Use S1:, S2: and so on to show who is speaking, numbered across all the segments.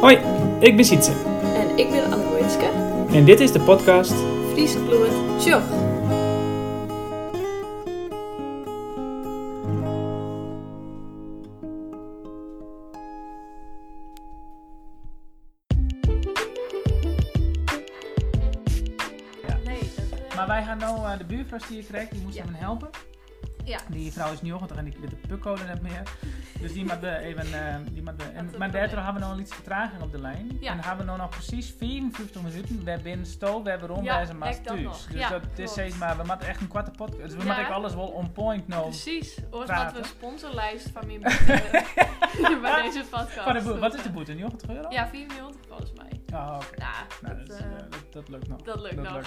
S1: Hoi, ik ben Sietse
S2: En ik ben Anne Boetske,
S1: en dit is de podcast.
S2: Friese bloemen, tjoch.
S1: Ja.
S2: Nee, dat, eh,
S1: Maar wij gaan nou eh, de buurvrouw die je krijgt, die moest
S2: Ja.
S1: hem helpen.
S2: Ja.
S1: Die vrouw is niet ochtig en die witte pukkolen net meer. Dus die moet we even. eh, die moet we- en,
S2: het
S1: maar
S2: probleem.
S1: daardoor hebben we nog iets vertraging op de lijn.
S2: Ja.
S1: En hebben we nou nog precies 54 minuten. We hebben in stoel, we hebben rond,
S2: Ja,
S1: wij zijn maar
S2: kijk dat nog.
S1: thuis. Dus
S2: Ja,
S1: dat is
S2: klopt.
S1: steeds maar. We moeten echt een kwarte podcast. Dus we
S2: Ja.
S1: moeten echt alles wel on point nou.
S2: Precies, ooit
S1: praten.
S2: dat we een sponsorlijst van meer bij deze podcast.
S1: Van de boer- wat is de boete? 90 euro?
S2: Ja, 490 volgens mij.
S1: Oh, oké.
S2: Nou,
S1: Nou,
S2: dat,
S1: dat, is,
S2: eh,
S1: eh, dat, dat lukt nog.
S2: dat lukt nog.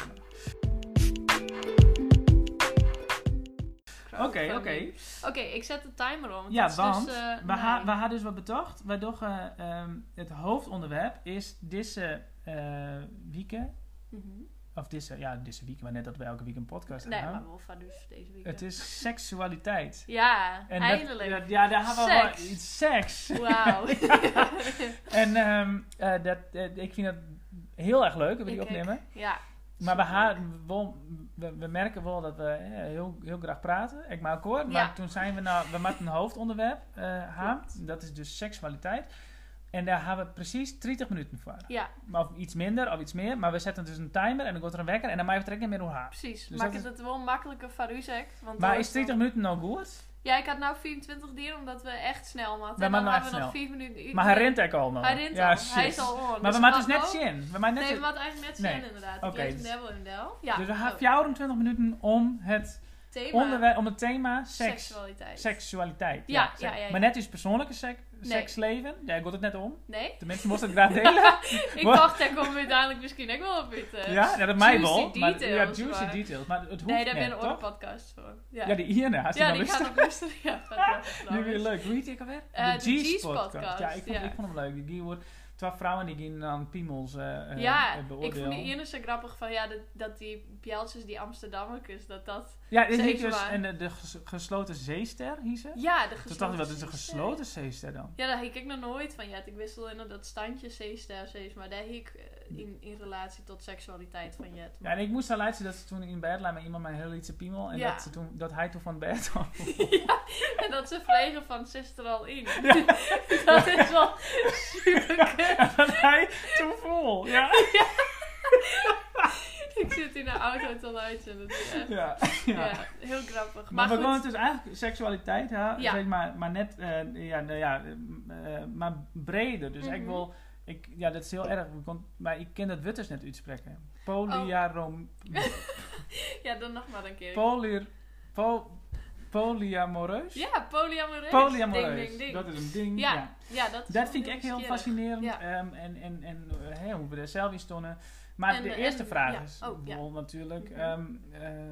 S1: Oké, oké.
S2: crowdfunding. Oké, ik zet de timer om.
S1: Ja,
S2: Het is
S1: want
S2: dus, eh,
S1: we, ha-
S2: nee.
S1: we hadden dus wat bedacht. Wij dachten, ehm, het hoofdonderwerp is deze eh weekend.
S2: Mhm.
S1: Of deze, ja, deze week, maar net dat we elke week een podcast
S2: Nee,
S1: hebben.
S2: maar Wolfa dus deze week.
S1: Het is seksualiteit.
S2: Ja,
S1: En dat-
S2: eindelijk.
S1: dat- ja, daar hebben we wel
S2: Seks.
S1: iets. Seks.
S2: Wauw.
S1: En ehm, eh, dat, eh, ik vind dat heel erg leuk dat we die
S2: Ik ook.
S1: opnemen.
S2: ja,
S1: Maar we,
S2: Superleuk.
S1: ha- wel- we, we merken wel dat we eh, heel, heel graag praten. Ik maak hoor. Maar
S2: Ja.
S1: toen zijn we naar we maakten een hoofdonderwerp eh haan. Dat is dus seksualiteit. En daar hebben we precies 30 minuten voor.
S2: ja,
S1: Maar Of iets minder of iets meer. Maar we zetten dus een timer en dan gaat er een wekker. En dan maak je trekken met hoe haar.
S2: precies.
S1: Dus
S2: Maak
S1: dat
S2: het het wel makkelijker voor u, zegt. Want
S1: Maar
S2: dan-
S1: is 30 minuten nou goed?
S2: Ja, ik had nou 24 dieren omdat we echt snel matten.
S1: Wij
S2: En dan
S1: maken
S2: hebben
S1: echt
S2: we nog
S1: nou snel.
S2: 4 minuten.
S1: Maar hij rent ik al nog.
S2: Hij rent
S1: ja,
S2: al.
S1: shit.
S2: Hij is al on.
S1: Maar we
S2: Dus
S1: maken dus
S2: wat
S1: net
S2: ook-
S1: zin. We maken net
S2: Nee, we
S1: zin.
S2: hadden eigenlijk net
S1: Nee.
S2: zin inderdaad.
S1: Oké,
S2: Oké.
S1: dus-
S2: Del en Del. Ja,
S1: Dus we
S2: oh,
S1: hebben 24 minuten om het,
S2: thema
S1: onderwerp, om het thema seks.
S2: seksualiteit.
S1: Seksualiteit.
S2: Ja,
S1: seks.
S2: ja, ja, ja.
S1: Maar net is persoonlijke sek-
S2: Nee.
S1: seksleven. Ja, ik had het net om.
S2: Nee?
S1: De mensen moesten het graag delen.
S2: Ik
S1: Wat?
S2: dacht, daar komen we uiteindelijk misschien ook wel op in. eh.
S1: ja, ja, dat mij
S2: Juicy
S1: wel. Maar, ja,
S2: details,
S1: juicy
S2: maar-
S1: details. Maar het hoeft
S2: Nee, daar
S1: net,
S2: ben ik ook
S1: toch?
S2: podcast voor. Ja,
S1: Ja, die hierna. Als je
S2: Ja,
S1: nou
S2: die
S1: wist.
S2: gaat nog luisteren. Ja, fantastisch.
S1: Nu weer leuk. Hoe heet die ook alweer?
S2: Eh, de
S1: G's
S2: G's
S1: podcast.
S2: podcast,
S1: Ja, ik vond,
S2: ja.
S1: ik vond hem leuk. Die- Die wordt twaalf vrouwen die gaan aan piemels eh eh,
S2: ja,
S1: beoordelen.
S2: ik vond die ene zo grappig van ja, dat, dat die pijltjes, die Amsterdammerkes, dat dat...
S1: Ja, dit heet
S2: Zeker
S1: dus
S2: waar.
S1: en de, de ges- gesloten zeester, hier ze.
S2: Ja, de gesloten
S1: Toen dacht ik, wat is een
S2: zeester.
S1: gesloten zeester dan?
S2: Ja, daar heb ik nog nooit van. Ja, ik wist wel inderdaad dat standje C-ster C's, maar daar heb ik eh, in, in relatie tot seksualiteit van Jet.
S1: Ja, en ik moest daar laatst dat ze toen in bed lag met iemand mijn heel iets piemel. En
S2: Ja.
S1: dat, ze toen, dat hij toen van bed kwam.
S2: En dat ze vliegen van zuster al in. dat is wel super kut.
S1: dat hij toen vol. Ja.
S2: Ik zit in de auto te luisteren. Dat is echt- ja.
S1: ja. ja.
S2: heel
S1: Maar,
S2: grappig. Maar,
S1: we
S2: goed,
S1: wonen dus eigenlijk seksualiteit, ja,
S2: Ja.
S1: Zeg maar, maar net, eh, ja, nou ja, eh, eh, maar breder. Dus ik
S2: Mhm.
S1: wil, ik, ja, dat is heel erg. we kon- maar ik ken dat Wutters net uitspreken. Polyarom,
S2: Oh. ja, dan nog maar een keer.
S1: polyr, po, polyamoreus?
S2: ja, polyamoreus.
S1: Polyamoreus.
S2: Ding, ding, ding.
S1: Dat is een ding.
S2: Ja,
S1: Ja.
S2: ja. dat
S1: Dat
S2: is wel
S1: vind ik
S2: heel
S1: echt heel
S2: nieuwsgierig.
S1: fascinerend.
S2: Ja.
S1: ehm, en en, en eh, hè, hoe we er zelf in stonden. Maar
S2: En,
S1: de
S2: eh,
S1: eerste
S2: en-
S1: vraag
S2: ja.
S1: is
S2: Oh, ja.
S1: wel natuurlijk.
S2: Mhm.
S1: ehm, eh,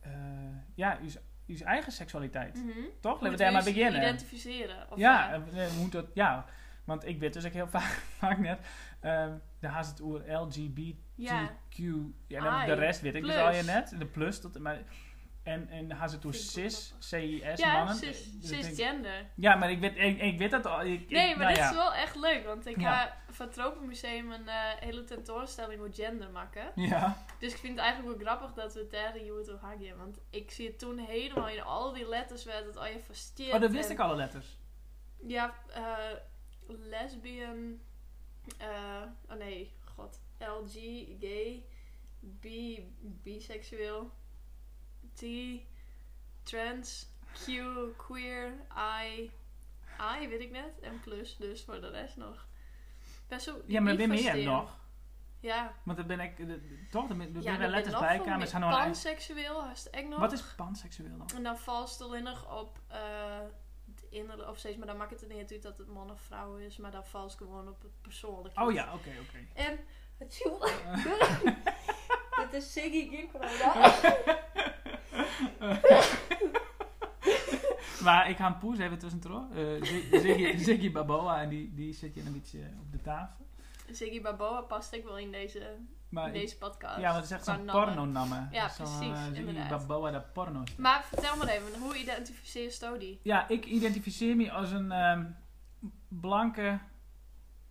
S1: eh, ja, uw, uw eigen seksualiteit.
S2: Mhm.
S1: Toch? Laten
S2: Moet
S1: we daar maar
S2: je
S1: beginnen.
S2: Identificeren. Of
S1: ja, eh, eh, moet dat, ja, want ik weet dus ook heel vaak, vaak net, ehm de haast het oer LGBTQ.
S2: ja.
S1: En dan
S2: Ai,
S1: de rest weet ik dus
S2: plus.
S1: al je net. De plus. Tot, maar, en, en haast het oer
S2: Vind ik wel
S1: cis, CIS
S2: Ja,
S1: mannen.
S2: cis-
S1: Dus ik denk-
S2: cisgender.
S1: ja, maar ik weet, ik, ik weet dat al. Ik, ik-
S2: Nee, maar
S1: nou
S2: dit
S1: ja.
S2: is wel echt leuk, want ik
S1: Ja.
S2: ga van het Tropenmuseum een eh, hele tentoonstelling over gender maken.
S1: Ja.
S2: Dus ik vind het eigenlijk wel grappig dat we het daar in Juto hangen. Want ik zie het toen helemaal in al die letters werd het al je fastiert.
S1: Oh, dat wist ik alle letters.
S2: Ja, eh, lesbian, eh, oh nee, god, LG, gay, B, biseksueel, T, trans, Q, queer, I, I weet ik net, en plus dus voor de rest nog. Best wel
S1: Ja, maar
S2: niet
S1: ben meer
S2: versteen.
S1: nog.
S2: Ja,
S1: Want dan ben ik eh, toch, er ben
S2: ja
S1: er
S2: dan ben
S1: letters
S2: nog
S1: bij.
S2: veel
S1: Kamers
S2: meer
S1: gaan nog
S2: panseksueel, haast ik nog.
S1: Wat is panseksueel dan?
S2: En dan valt het alleen nog op eh, het innerlijke, of steeds, maar dan maakt het er niet uit dat het man of vrouw is, maar dan valt het gewoon op het persoonlijke.
S1: Oh ja, oké, oké.
S2: En het viel. Dit is Siggy Ginkroda.
S1: Maar ik ga een poes even tussendoor. Eh Zig- Ziggy, Ziggy Baboa, en die, die zit je een beetje eh, op de tafel.
S2: Siggy Baboa past ik wel in deze,
S1: Maar
S2: in deze podcast.
S1: ja, want het is echt
S2: Qua
S1: zo'n
S2: namen.
S1: porno-namme.
S2: Ja,
S1: Zo'n,
S2: precies,
S1: eh, Ziggy
S2: inderdaad.
S1: Baboa, dat porno.
S2: Maar vertel maar even, hoe identificeer je die?
S1: Ja, ik identificeer me als een ehm, blanke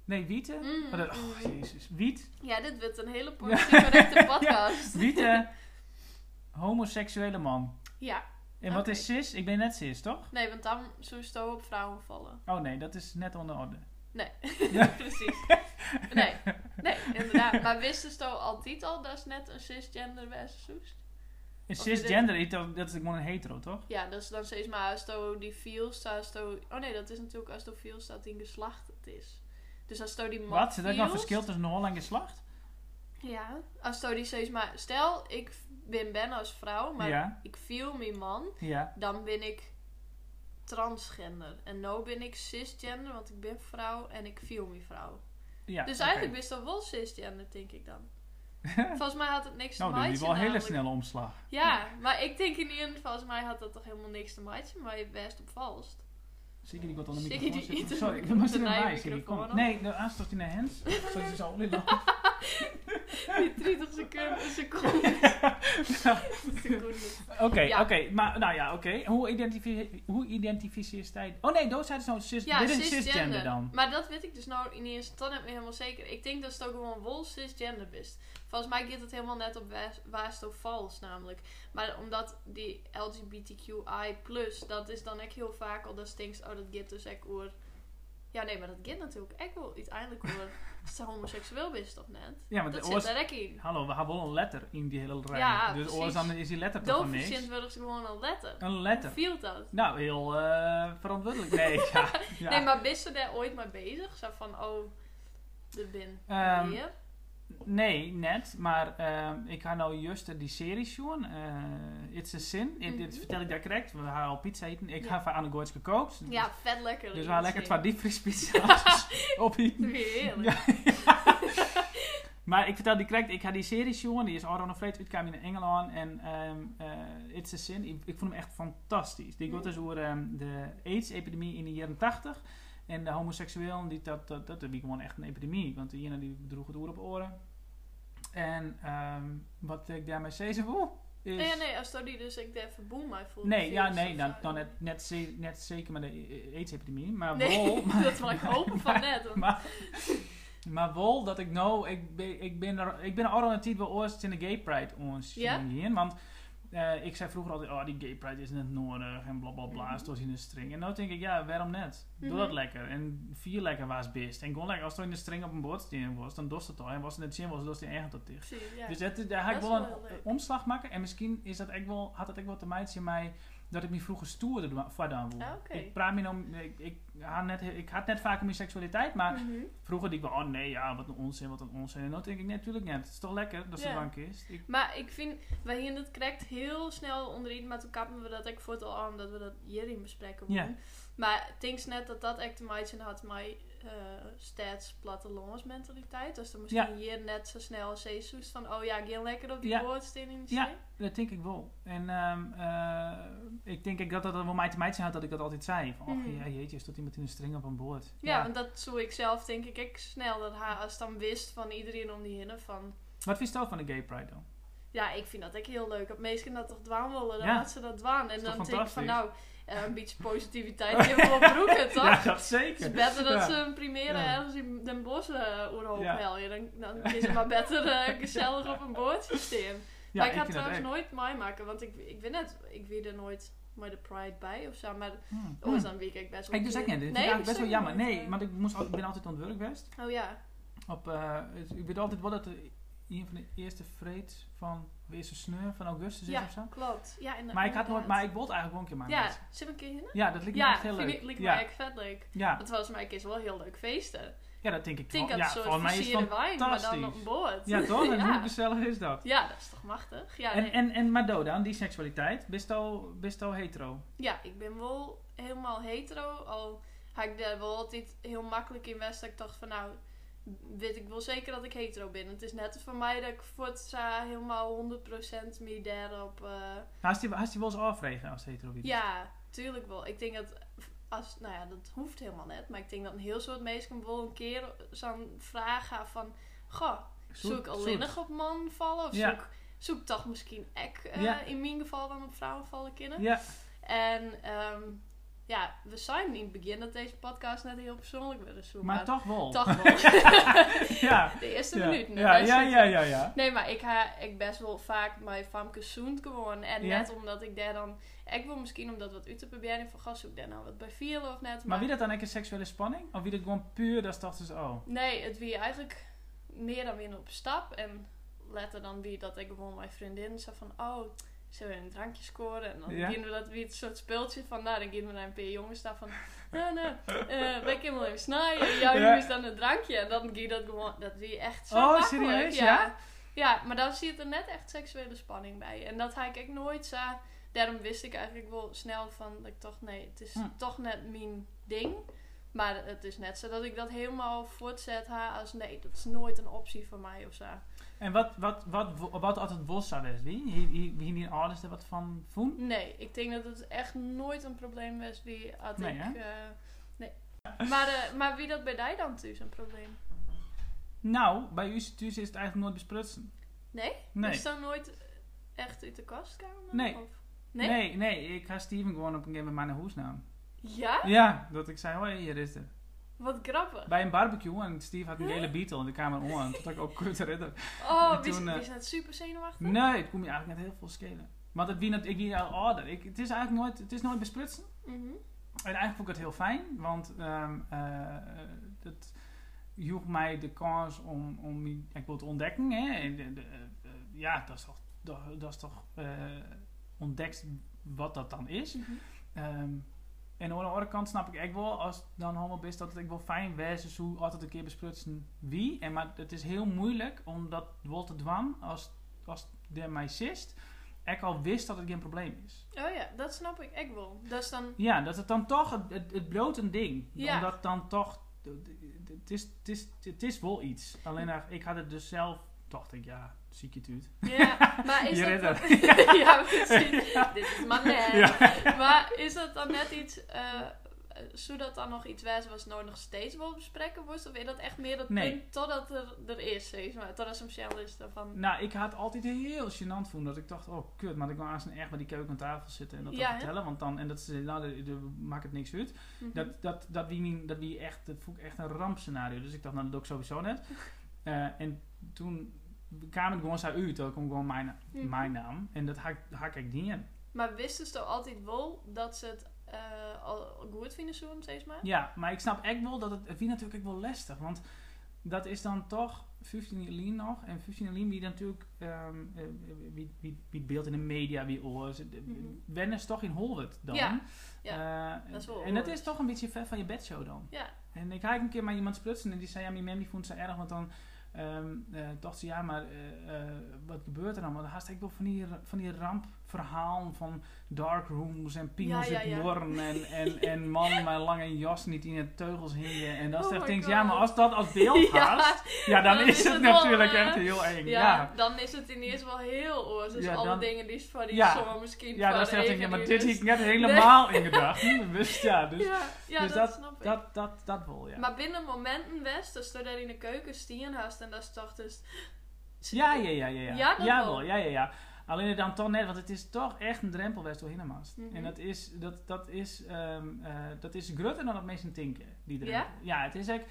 S1: Nee, wieten.
S2: Mm,
S1: Oh, dat-
S2: mm.
S1: oh, jezus. Wiet.
S2: Ja, dit wordt een hele politiek correcte podcast.
S1: Wieten. homoseksuele man.
S2: Ja.
S1: En wat
S2: Oké.
S1: is cis? Ik ben net cis, toch?
S2: Nee, want dan zou zo op vrouwen vallen.
S1: Oh nee, dat is net onder orde.
S2: Nee,
S1: Ja.
S2: precies. Nee, nee, inderdaad. Maar wisten ze al altijd al dat is net een cisgender was, Soest?
S1: Een
S2: Of is dit-
S1: cisgender, is dat dat is gewoon een hetero, toch?
S2: Ja, dat is dan steeds maar als to die viel staat, als to- Oh nee, dat is natuurlijk als to viel staat in geslacht het is. Dus als to die man
S1: Wat? Zit er ook nog
S2: viel-
S1: verschil tussen een hol en geslacht?
S2: Ja, als to die steeds maar... Stel, ik ben Ben als vrouw, maar
S1: Ja,
S2: ik viel mijn man.
S1: ja.
S2: dan ben ik transgender. En nu ben ik cisgender, want ik ben vrouw en ik viel me vrouw.
S1: ja
S2: dus
S1: oké.
S2: eigenlijk wist dat wel cisgender, denk ik dan. Volgens mij had het niks te
S1: Nou, dit
S2: maken.
S1: is wel een hele snelle omslag.
S2: Ja, maar ik denk in ieder geval, volgens mij had dat toch helemaal niks te maken, maar je best op vals.
S1: Zeker niet wat onder de
S2: Zeker
S1: microfoon
S2: niet
S1: zitten.
S2: in-
S1: Sorry, ik moest er
S2: de
S1: naar bij.
S2: nije
S1: Zeker,
S2: microfoon
S1: kom.
S2: op.
S1: Nee, de aanstoot in de hands. Sorry, ze is al niet lang.
S2: Die 30 seconden, seconden, seconden.
S1: Oké,
S2: Ja.
S1: oké. Maar, nou ja, oké. Hoe, identifi hoe identificeer jij... Oh nee, dat zei zo'n cis...
S2: Ja,
S1: dit is
S2: cisgender.
S1: cisgender dan.
S2: Maar dat weet ik dus nou in eerste dan heb ik me helemaal zeker. Ik denk dat het ook gewoon wol cisgender is. Volgens mij gaat het helemaal net op waar- waar het op vals namelijk. Maar omdat die LGBTQI+, dat is dan ook heel vaak al dat ze denkt, oh dat gaat dus echt oor... Ja, nee, maar dat gaat natuurlijk echt wel uiteindelijk oor als ze homoseksueel is of net.
S1: Ja, maar
S2: Dat
S1: de
S2: zit
S1: oors...
S2: daar ook in.
S1: Hallo, we hebben wel een letter in die hele rij.
S2: Ja,
S1: dus
S2: precies.
S1: oors, dan is die letter toch van
S2: Doofjes
S1: niks.
S2: worden ze gewoon een letter.
S1: Een
S2: Hoe
S1: letter.
S2: viel dat?
S1: Nou, heel eh, verantwoordelijk. Nee, ja. ja.
S2: Nee, maar wist ze daar ooit mee bezig? Zo van, oh, er bin
S1: Ehm,
S2: meer.
S1: Nee, net. Maar ehm, ik ga nou juist die serie zien. eh, It's a Sin. Ik- Dit
S2: Mhm.
S1: vertel ik daar correct. We gaan al pizza eten. Ik
S2: Ja.
S1: ga van Anne Goorts gekookt.
S2: Ja, vet lekker.
S1: Dus we gaan lekker twee
S2: Heerlijk.
S1: diepvriespizza's op
S2: Weer heerlijk.
S1: Maar ik vertel die correct. Ik ga die serie zien. Die is al nog steeds uitgekomen in Engeland. En ehm, eh, It's a Sin. Ik, ik vond hem echt fantastisch. Die gaat
S2: Mhm.
S1: dus over ehm, de AIDS-epidemie in de jaren 80. En de homoseksuelen, die, dat, dat, dat, die gewoon echt een epidemie. Want de jaren die droegen het oor op oren. En ehm, wat ik daarmee zeggen wil, is...
S2: Nee, ja, nee, als dat die dus ik daar even boem mij voelt.
S1: Nee, ja,
S2: dus
S1: nee,
S2: dat
S1: dan,
S2: zou-
S1: dan net, net, ze- net zeker met de eh, AIDS-epidemie. Maar wel,
S2: Nee, dat wil ik hopen van net. want-
S1: maar, maar wel dat ik nou, ik, ben- ik ben er, ik ben er al een tijd wel ooit in de Gay Pride ons
S2: Ja?
S1: hier, want eh, ik zei vroeger altijd, oh die Gay Pride is net nodig en bla bla bla,
S2: Mhm.
S1: stond in de string. En nou denk ik, ja, waarom net? Doe dat
S2: Mhm.
S1: lekker en vier lekker was best. En gewoon lekker, als er in de string op een bord staan was, dan dost het al. En was het in de gym was, dost het echt tot dicht.
S2: Precies, ja.
S1: Dus dat, is- daar ga ik
S2: Dat is
S1: wel een
S2: wel heel leuk.
S1: omslag maken. En misschien is dat ook wel, had dat ook wel te maken met mij dat ik me vroeger stoerder doe- voordaan voelde.
S2: Ah, oké.
S1: Ik praat me nou, ik, ik, had net, ik had net vaak om mijn seksualiteit, maar
S2: Mhm.
S1: Vroeger die ik wel, oh nee, ja, wat een onzin, wat een onzin. En dan denk ik, nee, natuurlijk net. Het is toch lekker dat ze
S2: Ja.
S1: blank is. Ik,
S2: Maar ik vind, wij hier in het correct heel snel onder iets, maar toen kappen we dat ik voor het al aan, dat we dat hierin bespreken.
S1: Ja.
S2: moeten. Maar thinks net dat dat echt te maken had met eh stads plattelandsmentaliteit. Dus dan misschien
S1: Ja.
S2: hier net zo snel een zeezoest van, oh ja, heel lekker op die
S1: Ja.
S2: woordsteen in de
S1: Ja.
S2: zee.
S1: dat denk ik wel. En ehm, eh, ik denk ik dat dat wel mij te meidje had dat ik dat altijd zei. Van, oh
S2: Mhm.
S1: ja, jeetje, er stond iemand in een string op een boord.
S2: Ja, want dat zou ik zelf denk ik ook snel dat haar als dan wist van iedereen om die hinnen van.
S1: Wat vind je zelf van de Gay Pride dan?
S2: Ja, ik vind dat ook heel leuk. Dat mensen dat toch dwaan willen, dan
S1: Ja.
S2: laat ze dat dwaan. En
S1: Is toch
S2: dan denk ik van nou,
S1: fantastisch?
S2: eh, een beetje positiviteit in wel broeken, toch?
S1: Ja, dat
S2: Het is
S1: zeker.
S2: beter dat
S1: Ja.
S2: ze een primera
S1: Ja.
S2: ergens in Den Bosch eh oerhoop
S1: Ja.
S2: helden. Dan, dan is het maar beter eh, gezellig op een boordje staan.
S1: Ja,
S2: maar ik,
S1: ik
S2: had
S1: vind dat
S2: trouwens
S1: echt.
S2: nooit meemaken, want ik, ik weet net, ik weet er nooit maar de Pride bij of zo. Maar
S1: Hmm.
S2: oh, is dan week ik best wel
S1: Ik dus ook
S2: keer.
S1: net. Dit
S2: Nee,
S1: is eigenlijk
S2: ik
S1: best wel
S2: zeg
S1: jammer.
S2: nooit,
S1: Nee,
S2: eh.
S1: want ik, moest, al- ik ben altijd aan het werk geweest.
S2: Oh ja.
S1: Op, eh, het- ik weet altijd wel dat de- een van de eerste vreed van, of eerste sneur van augustus is
S2: Ja,
S1: of zo.
S2: klopt. Ja, inderdaad.
S1: Maar ik had nooit, maar ik wilde eigenlijk wel een keer maken.
S2: Ja, zit een keer in?
S1: Ja, dat lijkt me
S2: Ja,
S1: echt heel
S2: vind
S1: leuk.
S2: ik lijkt me
S1: ja.
S2: echt vet leuk.
S1: Ja.
S2: Want volgens mij is het wel heel leuk feesten.
S1: ja, dat denk ik
S2: Ik denk
S1: wel.
S2: dat
S1: Ja,
S2: het een soort
S1: volgens mij is
S2: versierde
S1: het
S2: wijn, maar dan op
S1: fantastisch.
S2: een boord.
S1: Ja, toch? En
S2: ja.
S1: hoe gezellig is dat?
S2: Ja, dat is toch machtig? Ja, nee.
S1: En, en, en maar Dodan, die seksualiteit, best al, best al hetero.
S2: ja, ik ben wel helemaal hetero. Al ga ik daar wel altijd heel makkelijk in West. Dat ik dacht van nou, weet ik wel zeker dat ik hetero ben. Het is net voor mij dat ik voortza helemaal 100% meer daarop... eh,
S1: Nou, als die, als die wel eens afregen als hetero wie
S2: Ja, tuurlijk wel. Ik denk dat, als, nou ja, dat hoeft helemaal net. Maar ik denk dat een heel soort mensen wel een keer zo'n vraag gaan van... Goh,
S1: Zoet-
S2: zoek ik alleen
S1: zoet.
S2: nog op man vallen? Of
S1: Ja.
S2: zoek, zoek toch misschien ek, eh,
S1: Ja.
S2: in mijn geval dan op vrouwen vallen kunnen?
S1: Ja,
S2: En ehm, Ja, we zijn in het begin dat deze podcast net heel persoonlijk werden zo.
S1: Maar toch wel.
S2: toch wel.
S1: ja.
S2: De eerste
S1: Ja.
S2: minuut.
S1: Ja, ja, ja, ja, ja.
S2: Nee, maar ik ha ik best wel vaak mijn famke zoend gewoon. En
S1: Ja.
S2: net omdat ik daar dan... Ik wil misschien om dat wat uit te proberen van gast zoek daar nou wat bij vielen of net.
S1: Maar wie dat dan echt een seksuele spanning? Of wie dat gewoon puur, dat is toch dus, oh.
S2: Nee, het wie eigenlijk meer dan weer op stap. En letter dan wie dat ik gewoon mijn vriendin zei van... Oh, zullen we een drankje scoren? En dan
S1: Ja.
S2: gingen we dat weer het soort speeltje van... Nou, dan gingen we naar een paar jongens daar van... Nou, nou, eh wij kunnen wel even snijden. Jouw
S1: Ja.
S2: jongens dan een drankje. En dan ging dat gewoon... Dat wie echt zo
S1: Oh,
S2: makkelijk,
S1: serieus? Ja?
S2: Ja. Ja, maar dan zie je er net echt seksuele spanning bij. En dat had ik ook nooit zo... Daarom wist ik eigenlijk wel snel van... Dat ik toch... Nee, het is
S1: Hm.
S2: toch net mijn ding. Maar het is net zo dat ik dat helemaal voortzet ha, als nee, dat is nooit een optie voor mij of zo.
S1: En wat, wat, wat, wat, wat had het was zou wezen? Wie? Hier- hier- Wie niet ouders er wat van voelen?
S2: Nee, ik denk dat het echt nooit een probleem was wie had
S1: Nee,
S2: ik.
S1: hè?
S2: eh, nee. Maar, eh, maar wie dat bij jij dan dus een probleem?
S1: Nou, bij u thuis is het eigenlijk nooit besprutsen.
S2: Nee? Dus-
S1: Nee.
S2: Is dan nooit echt uit de kast komen?
S1: Nee.
S2: Of? Nee?
S1: Nee? nee, ik ga Steven gewoon op een gegeven moment mijn hoesnaam.
S2: Ja?
S1: Ja, dat ik zei, hoi, hier is het.
S2: Wat grappig.
S1: Bij een barbecue en Steve had een hele beetle in de kamer om. En toen dacht ik ook kut redden.
S2: Oh,
S1: En
S2: wie is-
S1: toen,
S2: wie
S1: eh, hm?
S2: is net super zenuwachtig?
S1: Nee, het kon je eigenlijk net heel veel schelen. Want het wie, nat- ik wie al ouder. Ik, het is eigenlijk nooit, het is nooit besprutsen.
S2: Mhm.
S1: En eigenlijk vond ik het heel fijn, want ehm eh, het joeg mij de kans om, om die- ik wil het ontdekken. Hè? En de- de, eh, eh, ja, dat is toch, dat, dat is toch eh, ontdekt wat dat dan is.
S2: Mhm.
S1: Ehm, en aan de andere kant snap ik echt wel, als het dan homo bent, dat het echt wel fijn was hoe altijd een keer besprutsen wie. En, maar het is heel moeilijk om dat wel te dwan als, als de mij zist. Ik al wist dat het geen probleem is.
S2: Oh ja, dat snap ik echt wel. Dat is dan...
S1: Ja, dat het dan toch, het, het, het bloot een ding.
S2: Ja.
S1: Omdat dan toch, het is, het, is, het is wel iets. Alleen maar, ik had het dus zelf, dacht ik, ja, ziek je het uit.
S2: Ja, maar is
S1: Je
S2: dat...
S1: redt
S2: dan- ja, precies. Dit is maar net.
S1: Ja.
S2: Maar is dat dan net iets... eh zodat dan nog iets was was nou nog steeds wel bespreken wordt? Of is dat echt meer dat
S1: Nee.
S2: punt totdat er, er is, zeg maar? Totdat ze zelf is daarvan...
S1: Nou, ik had altijd heel gênant voelen. Dat ik dacht, oh kut, maar ik wil aan zijn echt bij die keuken aan tafel zitten en dat
S2: Ja,
S1: dat
S2: hè?
S1: vertellen. Want dan, en dat ze, nou, dat- dat maakt het niks uit.
S2: Mhm.
S1: Dat, dat, dat, wie, niet- dat wie echt, dat vond ik echt een rampscenario. Dus ik dacht, nou, dat doe ik sowieso net. Eh, en toen kwam het gewoon zo uit. Dat kwam gewoon mijn,
S2: Mhm.
S1: mijn naam. En dat hak, hak ik niet in.
S2: Maar wisten ze toch altijd wel dat ze het eh, al goed vinden, zo steeds maar?
S1: Ja, maar ik snap echt wel dat het, het vind natuurlijk ook wel lastig. Want dat is dan toch 15 Elien nog. En 15 Elien wie natuurlijk, ehm, eh, wie, wie, wie beeld in de media, wie oor. ze- de-
S2: Mhm.
S1: Wen is toch in Hollywood dan.
S2: Ja,
S1: Eh,
S2: dat is wel
S1: en dat
S2: oor.
S1: is toch een beetje ver van je bedshow dan.
S2: Ja.
S1: En ik had een keer met iemand sprutsen en die zei, ja, mijn mem die vond ze erg, want dan... ehm, eh, dacht ze, ja, maar eh, eh, wat gebeurt er dan? Want haast ik wel van die, van die rampverhaal van dark rooms en piemels
S2: Ja, ja,
S1: uit
S2: ja.
S1: Noorden en, en, en man, mijn lange jas niet in de teugels hingen. En dat
S2: Oh
S1: is echt,
S2: my
S1: denk ik,
S2: God.
S1: ja, maar als dat als beeld
S2: Ja.
S1: haast, ja, dan, is het,
S2: wel,
S1: natuurlijk
S2: eh,
S1: echt heel eng.
S2: Ja,
S1: Ja,
S2: dan is het ineens wel heel oor. Dus
S1: Ja,
S2: alle
S1: dan-
S2: dingen die ze van die
S1: Ja.
S2: zomer misschien
S1: ja,
S2: van
S1: dan zegt ik, ja,
S2: even
S1: maar
S2: die
S1: dit
S2: dus-
S1: heb ik net helemaal in gedachten. Dus ja, dus
S2: Ja, ja
S1: dus
S2: dat,
S1: dat-
S2: snap ik.
S1: dat, dat, dat wel, ja.
S2: Maar binnen momenten best, dus toen hij in de keuken stien had en dat is toch dus...
S1: Ja, ja, ja, ja. Ja,
S2: Ja, dat
S1: Jawel,
S2: wel.
S1: ja, ja, ja. Alleen het dan toch net, want het is toch echt een drempel best wel Hinnemast.
S2: Mhm.
S1: En dat is, dat, dat is, ehm eh, dat is grutter dan dat mensen denken, die
S2: Ja?
S1: drempel. Ja? het is echt,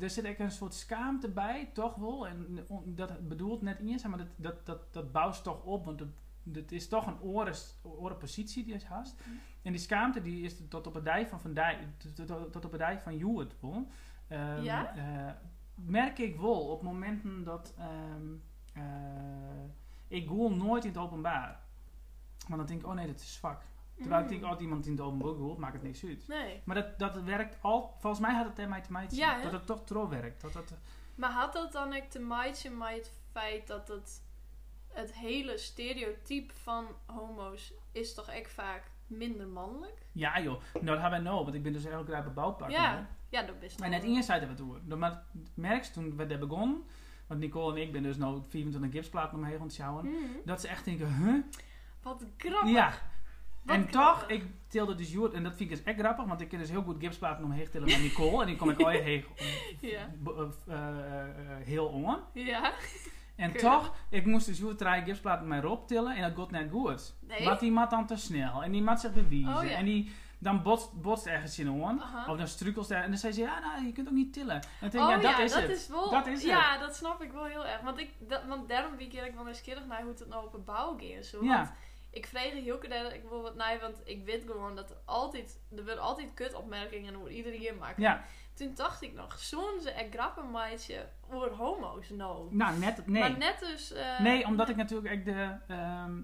S1: er zit echt een soort schaamte bij, toch wel. En on- dat bedoelt net eens, maar dat, dat, dat, dat bouwt toch op, want het, het is toch een ores- orenpositie die is haast.
S2: Mhm.
S1: En die schaamte die is tot op het dij van, van dij, tot, tot- tot op het dij van Juwet, wel. Ehm,
S2: Ja?
S1: eh, merk ik wel op momenten dat ehm, eh, ik googel nooit in het openbaar. Want dan denk ik, oh nee, dat is zwak. Terwijl ik denk,
S2: Mm.
S1: oh, iemand in het openbaar googelt, maakt het niks uit.
S2: Nee.
S1: Maar dat, dat werkt al, volgens mij had het er mij te maken
S2: Ja, hè?
S1: dat het toch trouw werkt. Dat, dat,
S2: Maar had dat dan ook te maken met het feit dat het, het hele stereotype van homo's is toch echt vaak minder mannelijk?
S1: ja joh, nou dat hebben we nou, want ik ben dus heel graag bij bouwpakken.
S2: Ja.
S1: hè.
S2: Ja, dat is
S1: Maar net eerst zeiden we het door. Maar merk je toen we daar begonnen, want Nicole en ik ben dus nou 24 gipsplaten omheen aan het sjouwen,
S2: Mhm.
S1: dat ze echt denken, huh?
S2: Wat grappig.
S1: Ja.
S2: Wat
S1: en
S2: grappig.
S1: toch, ik tilde dus Joert, en dat vind ik dus echt grappig, want ik ken dus heel goed gipsplaten omheen tillen met Nicole. en die kom ik al heel,
S2: Ja.
S1: be- eh, eh, eh, heel on.
S2: Ja.
S1: En
S2: Keurig.
S1: toch, ik moest dus Joert drie gipsplaten met mij optillen en dat gaat net goed.
S2: Nee.
S1: Want die mat dan te snel en die mat zich bewijzen.
S2: Oh, ja. Oh.
S1: En die, dan botst, botst ergens je hoorn.
S2: Aha.
S1: Of dan struikelt er. En dan zei ze, ja, nou, je kunt ook niet tillen. En dan denk ik,
S2: oh
S1: ja,
S2: ja,
S1: dat is
S2: dat
S1: het.
S2: is wel.
S1: Dat is
S2: ja, dat snap ik wel heel erg. Want, ik, dat, want daarom ben ik eigenlijk wel nieuwsgierig naar hoe het nou op een bouw ging en zo. Want
S1: ja,
S2: ik vreeg heel erg dat ik wil wat nee, want ik weet gewoon dat er altijd, er wordt altijd kutopmerkingen over iedere keer maken.
S1: ja.
S2: Toen dacht ik nog, zo'n ze er grappen meidje over homo's nou.
S1: Nou, net, nee.
S2: Maar net dus. eh,
S1: Nee, omdat ik natuurlijk echt de. ehm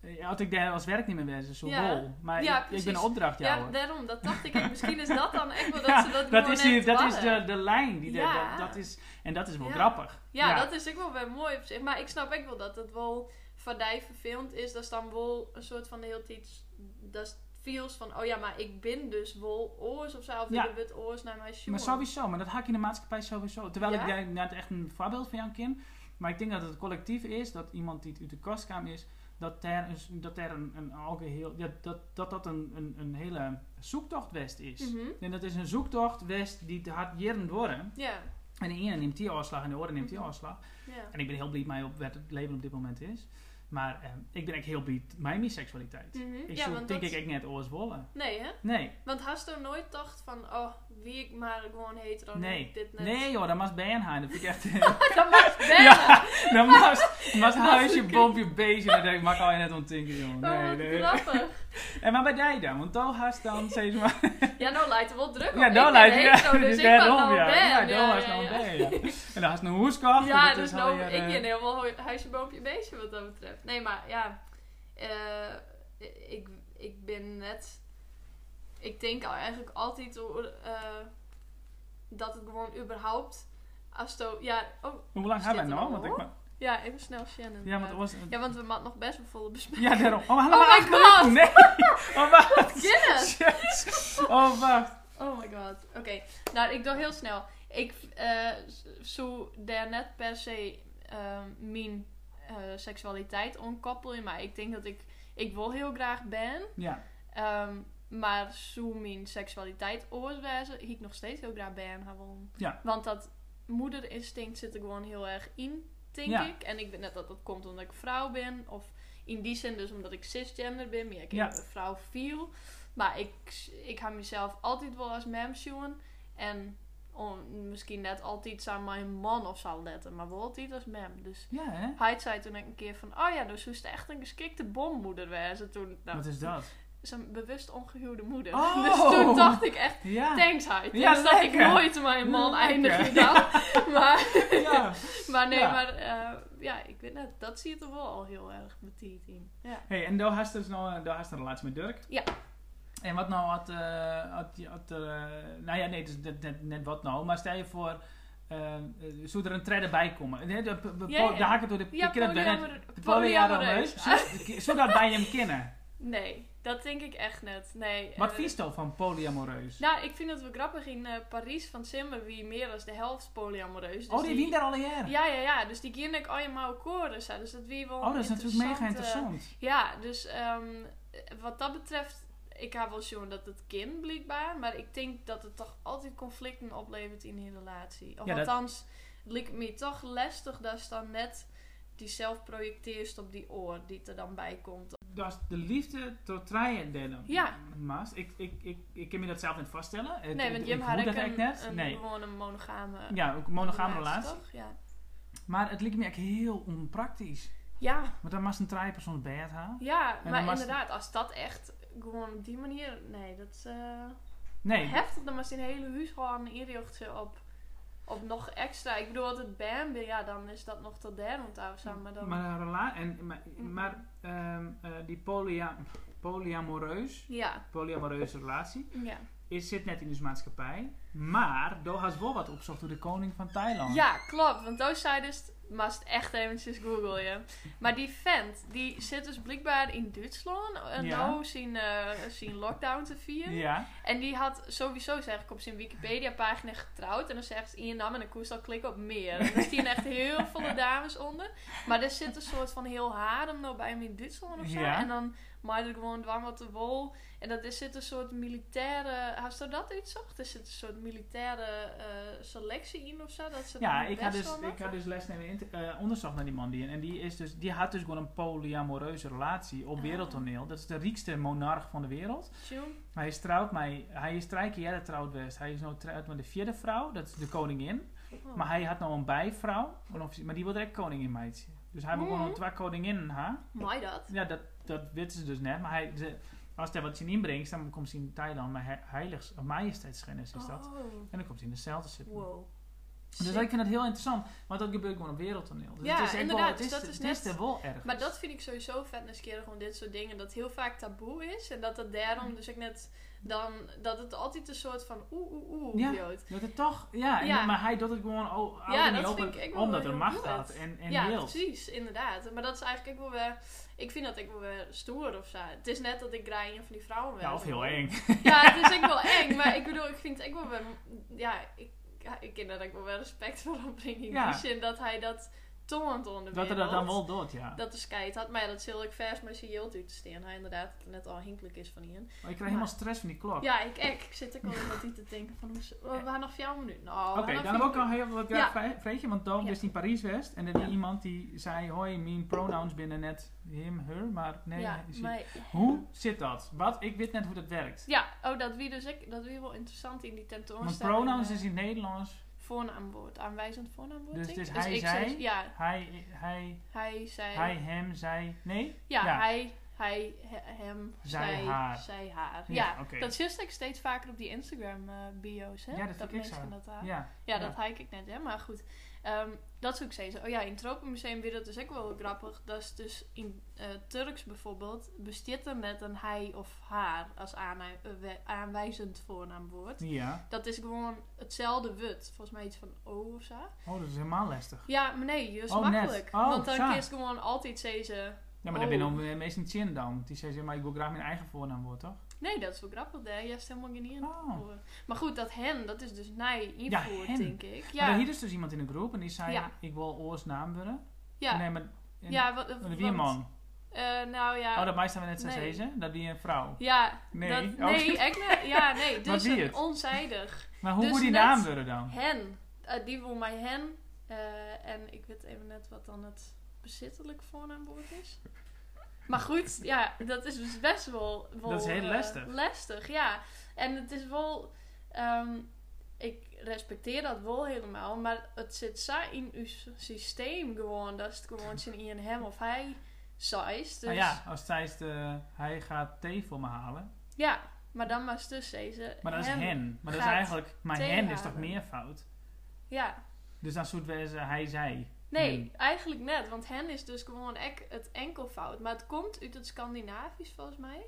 S1: eh, had ik daar als werk niet meer bezig, zo'n
S2: Ja.
S1: rol. Maar
S2: Ja,
S1: ik, ik ben
S2: precies.
S1: opdrachtjouwer.
S2: Ja, daarom, dat dacht ik. echt. Misschien is dat dan echt wel dat
S1: Ja,
S2: ze dat
S1: dat
S2: gewoon
S1: is, die,
S2: net
S1: dat is de,
S2: hadden.
S1: de lijn. Die de-
S2: Ja.
S1: dat, dat is, en dat is wel
S2: Ja.
S1: grappig.
S2: Ja, dat is ook wel weer mooi op zich. Maar ik snap ook wel dat het wel vaardij verfilmd is. Dat is dan wel een soort van de hele tijd... Dat is feels van, oh ja, maar ik ben dus wel oors of zo. Of
S1: Ja.
S2: ik ben oors naar mijn jongen.
S1: maar sowieso, maar dat hak je in de maatschappij sowieso. Terwijl
S2: Ja?
S1: ik daar net echt een voorbeeld van jou ken. Maar ik denk dat het collectief is, dat iemand die uit de kast kwam is, dat daar een, dat daar een, een algeheel, ja, dat, dat dat een, een, een hele zoektocht west is.
S2: Mhm.
S1: En dat is een zoektocht west die te hard jeren worden.
S2: Ja,
S1: En de ene neemt die afslag en de andere neemt die
S2: Mhm.
S1: afslag.
S2: ja.
S1: En ik ben heel blij mee op wat het leven op dit moment is. Maar ehm, ik ben echt heel blij met mijn seksualiteit.
S2: Mhm.
S1: Ik
S2: ja,
S1: zo
S2: want
S1: denk
S2: dat-
S1: ik echt net oors wollen.
S2: Nee, hè?
S1: Nee,
S2: Want had je nooit gedacht van, oh, wie ik maar gewoon heet dan
S1: nee.
S2: dit net.
S1: Nee joh, dat mag Bernheim. Dat vind ik echt...
S2: dat mag bellen. Oh,
S1: ja, dat mag, dat mag
S2: Dat
S1: huisje,
S2: is-
S1: boompje, beestje. Dat denk ik, mag al je net ontdenken jongen. Nee,
S2: Oh,
S1: nee.
S2: wat grappig.
S1: En maar bij jij dan? Want dan haast dan, zeg maar...
S2: Ja, nou lijkt het wel druk op.
S1: Ja, dan lijkt
S2: het.
S1: het...
S2: dus ik
S1: daarom,
S2: ben nou
S1: ja.
S2: ben.
S1: Ja, dan
S2: Ja,
S1: haast
S2: ja,
S1: dan
S2: ja.
S1: ben, ja. En dan haast een hoeskast.
S2: Ja,
S1: dat
S2: dus
S1: is
S2: nou,
S1: alweer,
S2: ik
S1: eh,
S2: ken heel wel huisje, boompje, beestje wat dat betreft. Nee, maar ja. eh, ik, ik ben net... Ik denk al eigenlijk altijd eh, dat het gewoon überhaupt... Als het ook- ja, oh,
S1: Hoe lang
S2: Is
S1: hebben we
S2: dit
S1: nou?
S2: er
S1: Want
S2: al,
S1: ik ma-
S2: ja, even snel Shannon.
S1: Ja, want
S2: eh,
S1: het was...
S2: ja, want we maat nog best wel volle bespreking.
S1: Ja, daarom. Oh,
S2: Oh
S1: helemaal
S2: my
S1: acht minuten.
S2: god!
S1: Nee! Oh, wacht.
S2: Guinness!
S1: Jezus. Oh, wacht.
S2: Oh my god. Oké, nou ik doe heel snel. Ik eh, z- zou daar net per se ehm, mijn eh, seksualiteit onkoppelen, maar ik denk dat ik, ik wil heel graag ben,
S1: Ja,
S2: ehm, maar zo mijn seksualiteit oorwezen, ik nog steeds heel graag ben gewoon.
S1: Ja.
S2: Want dat moederinstinct zit er gewoon heel erg in, denk
S1: Ja.
S2: ik. En ik weet net dat dat komt omdat ik vrouw ben, of in die zin dus omdat ik cisgender ben, meer ik
S1: Ja.
S2: een vrouw viel. Maar ik, ik ga mezelf altijd wel als mem zien. En on- misschien net altijd aan mijn man of zo letten, maar wel altijd als mem. Dus
S1: ja hè?
S2: hij zei toen ik een keer van, oh ja, dus hoe is het echt een geschikte bommoeder wezen toen. Nou,
S1: Wat is dat?
S2: zijn bewust ongehuwde moeder.
S1: Oh!
S2: Dus toen dacht ik echt,
S1: Ja.
S2: thanks hij.
S1: Ja,
S2: dus dat ik
S1: lekker.
S2: nooit mijn man
S1: Lekker.
S2: eindig dan. maar,
S1: ja.
S2: maar nee,
S1: Ja.
S2: maar eh, ja, ik weet net, dat zie je toch wel al heel erg betiet in. Ja.
S1: Hey, en daar had je dus nou, eh, daar had je een relatie met Dirk.
S2: Ja.
S1: En wat nou had, eh had, je- had er, eh, nou ja, nee, het is net, net, net wat nou, maar stel je voor, eh, eh, zou er een trede bij komen? Nee, de, de, de,
S2: Ja, ja.
S1: de haken door de,
S2: Ja,
S1: ik ken het net.
S2: polyamoreus.
S1: de
S2: Polyamoreus.
S1: polyamoreus. Zou- Zou dat bij hem kennen?
S2: Nee, dat denk ik echt net. Nee.
S1: Wat
S2: eh,
S1: vies toch van polyamoreus?
S2: Nou, ik vind het wel grappig. In eh, Parijs van Simmer wie meer dan de helft polyamoreus. Dus
S1: oh, die wien daar al een jaar.
S2: Ja, ja, ja. Dus die ging ik al je mouw koren. zo. Dus dat wie wel eh,
S1: oh, dat is natuurlijk mega
S2: interessante-
S1: interessant.
S2: Ja, dus ehm, wat dat betreft, ik heb wel zoen dat het kind blijkbaar, maar ik denk dat het toch altijd conflicten oplevert in een relatie. Of
S1: Ja, dat-
S2: althans, het lijkt me toch lastig dat je dan net die zelf projecteert op die oor die er dan bij komt.
S1: Dat is de liefde tot treien delen.
S2: Ja.
S1: Maas. Ik, ik, ik, ik kan me dat zelf niet vaststellen. Het-
S2: Nee,
S1: het-
S2: want
S1: ik
S2: Jim
S1: voel
S2: had
S1: dat
S2: ik
S1: eigenlijk
S2: een,
S1: net.
S2: een,
S1: nee.
S2: gewoon een monogame,
S1: Ja, ook een monogame relatie.
S2: toch? Ja.
S1: Maar het lijkt me echt heel onpraktisch.
S2: ja,
S1: Want dan mag een traaien persoon bij het halen.
S2: ja,
S1: dan
S2: maar
S1: was-
S2: inderdaad, als dat echt gewoon op die manier, nee, dat is... eh,
S1: Nee.
S2: heftig dan was een hele huis gewoon inrichten op, op nog extra. Ik bedoel, altijd BAM, ja, dan is dat nog tot derde onthouden samen. Maar dan... Mhm.
S1: Maar, een rela- en, maar, maar ehm, eh, die polya polyamoreus,
S2: Ja,
S1: polyamoreuze relatie,
S2: ja.
S1: is, zit net in de maatschappij. Maar Doha is wel wat opzocht door de koning van Thailand.
S2: ja, klopt. Want toen zei dus, must echt eventjes googlen je. Maar die vent, die zit dus blijkbaar in Duitsland. En
S1: Ja.
S2: nou zien, eh, zien lockdown te vieren.
S1: Ja.
S2: En die had sowieso, zeg ik, op zijn Wikipedia-pagina getrouwd. En dan zegt ze in je naam en dan koest al klikken op meer. En er zien echt heel veel dames onder. Maar er zit een soort van heel harem nou bij me in Duitsland of zo.
S1: Ja.
S2: En dan Maar er gewoon dwang wat de wol. En dat is het een soort militaire. Had je dat uitzocht? Is het een soort militaire eh, selectie in of zo? Dat ze
S1: Ja,
S2: dan
S1: ik had,
S2: best
S1: dus,
S2: wel
S1: ik had dus lesnemen inter- eh, onderzocht naar die man. Die, en die, is dus, die had dus gewoon een polyamoreuze relatie op
S2: Ah.
S1: wereldtoneel. Dat is de riekste monarch van de wereld.
S2: Tjoe.
S1: Hij is trouwt mij, hij is drie keer eerder trouwd geweest. Hij is nou trouwd met de vierde vrouw, dat is de koningin.
S2: Oh.
S1: Maar hij had nou een bijvrouw, een offici- maar die wil direct koningin meidje. Dus hij wil
S2: Mhm.
S1: gewoon nog twee koninginnen haar.
S2: Mooi dat.
S1: Ja, dat, dat weten ze dus net. Maar hij, ze- als hij wat je inbrengt, dan komt hij in Thailand met he- heiligs, of majesteitsschennis is dat.
S2: Oh,
S1: En dan komt hij in dezelfde zitten.
S2: wow.
S1: Dus
S2: Sick.
S1: ik vind het heel interessant, want dat gebeurt gewoon op wereldtoneel. Dus
S2: Ja,
S1: het is echt
S2: inderdaad,
S1: Wel, het
S2: dus
S1: is,
S2: dat
S1: het
S2: is
S1: is,
S2: net-
S1: er wel erg.
S2: Maar dat vind ik sowieso vet naar keren gewoon dit soort dingen. Dat heel vaak taboe is. En dat dat
S1: Mm.
S2: daarom dus ik net dan... Dat het altijd een soort van oeh oeh oeh
S1: Ja.
S2: idioot.
S1: Dat het toch, ja, en-
S2: Ja.
S1: maar hij doet het gewoon oh,
S2: Ja,
S1: ja, niet
S2: dat
S1: open,
S2: vind ik- ik wil
S1: omdat
S2: wel
S1: er
S2: heel
S1: macht
S2: goed.
S1: had en, en
S2: ja,
S1: wil.
S2: precies, inderdaad. Maar dat is eigenlijk ook wel weer... Ik vind dat ik wel weer stoer of zo. Het is net dat ik graai een van die vrouwen wel.
S1: Ja, of heel eng.
S2: Ja, het is ook wel eng. Maar ik bedoel, ik vind het ook wel weer... Ja, ik, ja, ik ken daar ook wel weer respect voor opbrengen. In
S1: Ja.
S2: die zin dat hij dat toont onder
S1: Dat er dat dan wel doet, ja.
S2: Dat is kijk had. Maar ja, dat is heel erg vers. Maar ze hield u te steen. Hij inderdaad net al hinkelijk is van Ian.
S1: Maar ik krijg helemaal stress van die klok.
S2: Ja, ik, ik, ik zit ook al met die te denken van, hoe ze- we gaan nog vier minuten. Nou,
S1: Oké,
S2: we gaan
S1: dan heb
S2: nog
S1: ik ook
S2: vier
S1: al heel wat
S2: Ja.
S1: ja. vreetje, want Dom
S2: Ja.
S1: is in Parijs West en er
S2: Ja.
S1: is iemand die zei, hoi, mijn pronouns binnen net him, her, maar nee.
S2: minuten.
S1: is-
S2: ja, maar,
S1: Hoe zit dat? Wat? Ik weet net hoe dat werkt.
S2: ja, oh, dat wie dus ik, dat wie wel interessant in die
S1: Want
S2: tentoonstelling.
S1: pronouns
S2: eh,
S1: is in het Nederlands
S2: Voornaamwoord, aanwijzend voornaamwoord.
S1: Dus
S2: denk
S1: het
S2: ik.
S1: is hij,
S2: ik
S1: zij?
S2: zeg- ja,
S1: hij, hij,
S2: hij, zij.
S1: hij, hem, zij, nee?
S2: ja,
S1: ja.
S2: hij, hij, he- hem,
S1: Zij,
S2: zij,
S1: haar.
S2: zij, haar. Ja,
S1: Ja, oké.
S2: dat zie ik steeds vaker op die Instagram eh, bio's, hè?
S1: Ja, dat vind ik
S2: mensen
S1: zo.
S2: dat haar.
S1: Ja.
S2: Ja,
S1: Ja.
S2: dat hike ik net, hè. Maar goed, ehm, dat is ook steeds... Oh ja, in het Tropenmuseum weer, dat is ook wel grappig. Dat is dus in eh, Turks bijvoorbeeld... bestiert er net een hij of haar als aanwij- eh, we- aanwijzend voornaamwoord.
S1: Ja.
S2: Dat is gewoon hetzelfde wut. Volgens mij iets van o of zo.
S1: Oh, dat is helemaal lastig.
S2: Ja, maar nee, dat is
S1: Oh, net.
S2: makkelijk.
S1: Oh,
S2: Want dan
S1: zo.
S2: kiest gewoon altijd deze...
S1: Ja, maar
S2: Oh.
S1: daar ben je dan meestal chin dan. Die zei, maar ik wil graag mijn eigen voornaamwoord, toch?
S2: Nee, dat is wel grappig. Daar je hebt helemaal geen hier
S1: Oh.
S2: voor. Maar goed, dat hen, dat is dus nij invoert,
S1: hen.
S2: denk ik.
S1: Ja. Maar
S2: Ja,
S1: hier is dus iemand in de groep en die zei,
S2: Ja.
S1: ik wil Oors naam worden.
S2: ja.
S1: Nee, maar... en-
S2: ja, wat...
S1: maar de
S2: want-
S1: Wierman.
S2: eh, nou ja...
S1: Oh, dat mij staan we net zijn
S2: Nee.
S1: zezen. Dat die een vrouw.
S2: Ja,
S1: Nee.
S2: dat,
S1: Oh.
S2: nee, echt net- ja, nee,
S1: Maar
S2: dus
S1: wie
S2: een
S1: het? Oh.
S2: onzijdig.
S1: Maar hoe
S2: Dus
S1: moet die
S2: net-
S1: naam worden dan?
S2: Hen, Eh, die wil mij hen. Eh, en ik weet even net wat dan het bezittelijk voornaamwoord is. Maar goed, ja, dat is dus best wel... wel
S1: Dat is heel
S2: eh,
S1: lastig.
S2: lastig, ja. En het is wel... ehm, ik respecteer dat wel helemaal, maar het zit zo in uw s- systeem gewoon. Dat is het gewoon zin in hem of hij size. Dus
S1: Nou ja, als Thijs de, hij gaat thee voor me halen.
S2: ja, maar dan was dus deze
S1: Maar dat is
S2: hem.
S1: hen. Maar dat is
S2: gaat
S1: eigenlijk, maar
S2: thee
S1: hen is toch
S2: halen.
S1: meervoud?
S2: Ja,
S1: Dus dan zoet wezen hij, zij.
S2: Nee,
S1: Hmm.
S2: eigenlijk net. Want hen is dus gewoon ek, het enkelvoud. Maar het komt uit het Scandinavisch volgens mij.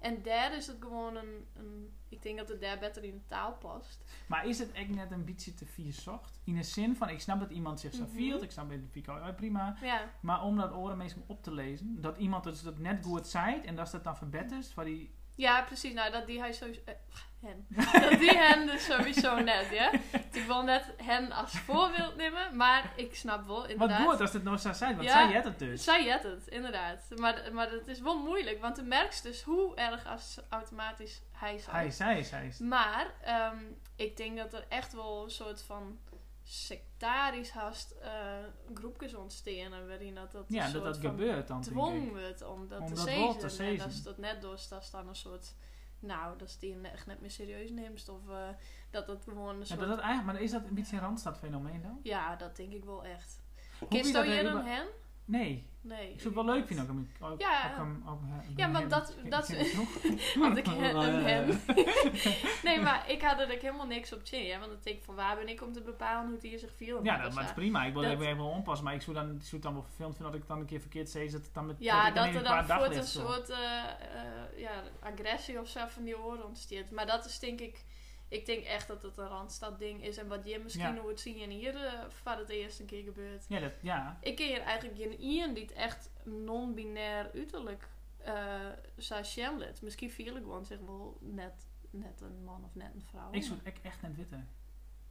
S2: En daar is het gewoon een, een... Ik denk dat het daar beter in de taal past.
S1: Maar is het echt net een beetje te vier zocht? In de zin van, ik snap dat iemand zich zo
S2: Mhm.
S1: vielt. Ik snap dat ik ja, prima.
S2: Ja,
S1: Maar om dat oren meestal op te lezen. Dat iemand dus dat net goed zei. En dat is dat dan verbettert. Van die,
S2: ja precies. Nou, dat die hij sowieso... eh, hen. Dat die hen dus sowieso net, ja. Ik wil net hen als voorbeeld nemen. Maar ik snap wel,
S1: wat
S2: inderdaad...
S1: goed als het nooit zou zijn. Want
S2: Ja.
S1: zij had het dus.
S2: Zij het het, inderdaad. Maar, maar dat is wel moeilijk. Want je merkt dus hoe erg als automatisch hij zou.
S1: Hij, zij, zij.
S2: Maar ehm, ik denk dat er echt wel een soort van sectarisch haast eh, groepjes ontstaan. Waarin dat, dat
S1: Ja,
S2: een
S1: dat
S2: soort
S1: dat
S2: van
S1: gebeurt dan. denk ik.
S2: dwong wordt om dat
S1: Om
S2: te
S1: dat wel te
S2: zezen. En dat
S1: sezen.
S2: is dat net door dat is dan een soort... Nou, dat is die je echt net meer serieus neemt. Of eh, dat dat gewoon een
S1: Ja,
S2: soort...
S1: dat, dat eigenlijk, maar is dat een beetje een randstadfenomeen dan?
S2: Ja, dat denk ik wel echt.
S1: Hoe
S2: Kist
S1: wie
S2: je
S1: dat
S2: hier
S1: er-
S2: een hen?
S1: Nee,
S2: Nee.
S1: ik zou het wel leuk vinden. Ook, om- ook,
S2: Ja.
S1: ook, hem- ook, hem-
S2: Ja, want
S1: hem-
S2: dat-
S1: ik
S2: dat-
S1: vind het genoeg.
S2: Want ik he- een hem.
S1: Eh,
S2: nee, maar ik had er ook helemaal niks op zin. Ja, want dan denk ik van waar ben ik om te bepalen hoe die zich viel.
S1: Ja, dat, maar het is prima. Ik wil
S2: Dat-
S1: even even wel onpassen. Maar ik zou dan, ik zou het dan wel vervelend vinden dat ik dan een keer verkeerd zei. Dat, het dan met,
S2: Ja,
S1: ik
S2: dat
S1: in
S2: er
S1: een
S2: dan
S1: paar
S2: voort een
S1: daglicht zo.
S2: soort eh, eh, ja, agressie of zo van die oren ontsteert. Maar dat is denk ik... Ik denk echt dat het een Randstad ding is. En wat je misschien
S1: Ja.
S2: hoort zien en hier eh, wat het de eerste keer gebeurt.
S1: Ja, dat, ja.
S2: Ik ken hier eigenlijk geen Ian die het echt non-binair uiterlijk eh zou Shamlet. Misschien viel ik gewoon zeg wel net, net een man of net een vrouw.
S1: Ik zou het echt- echt net weten.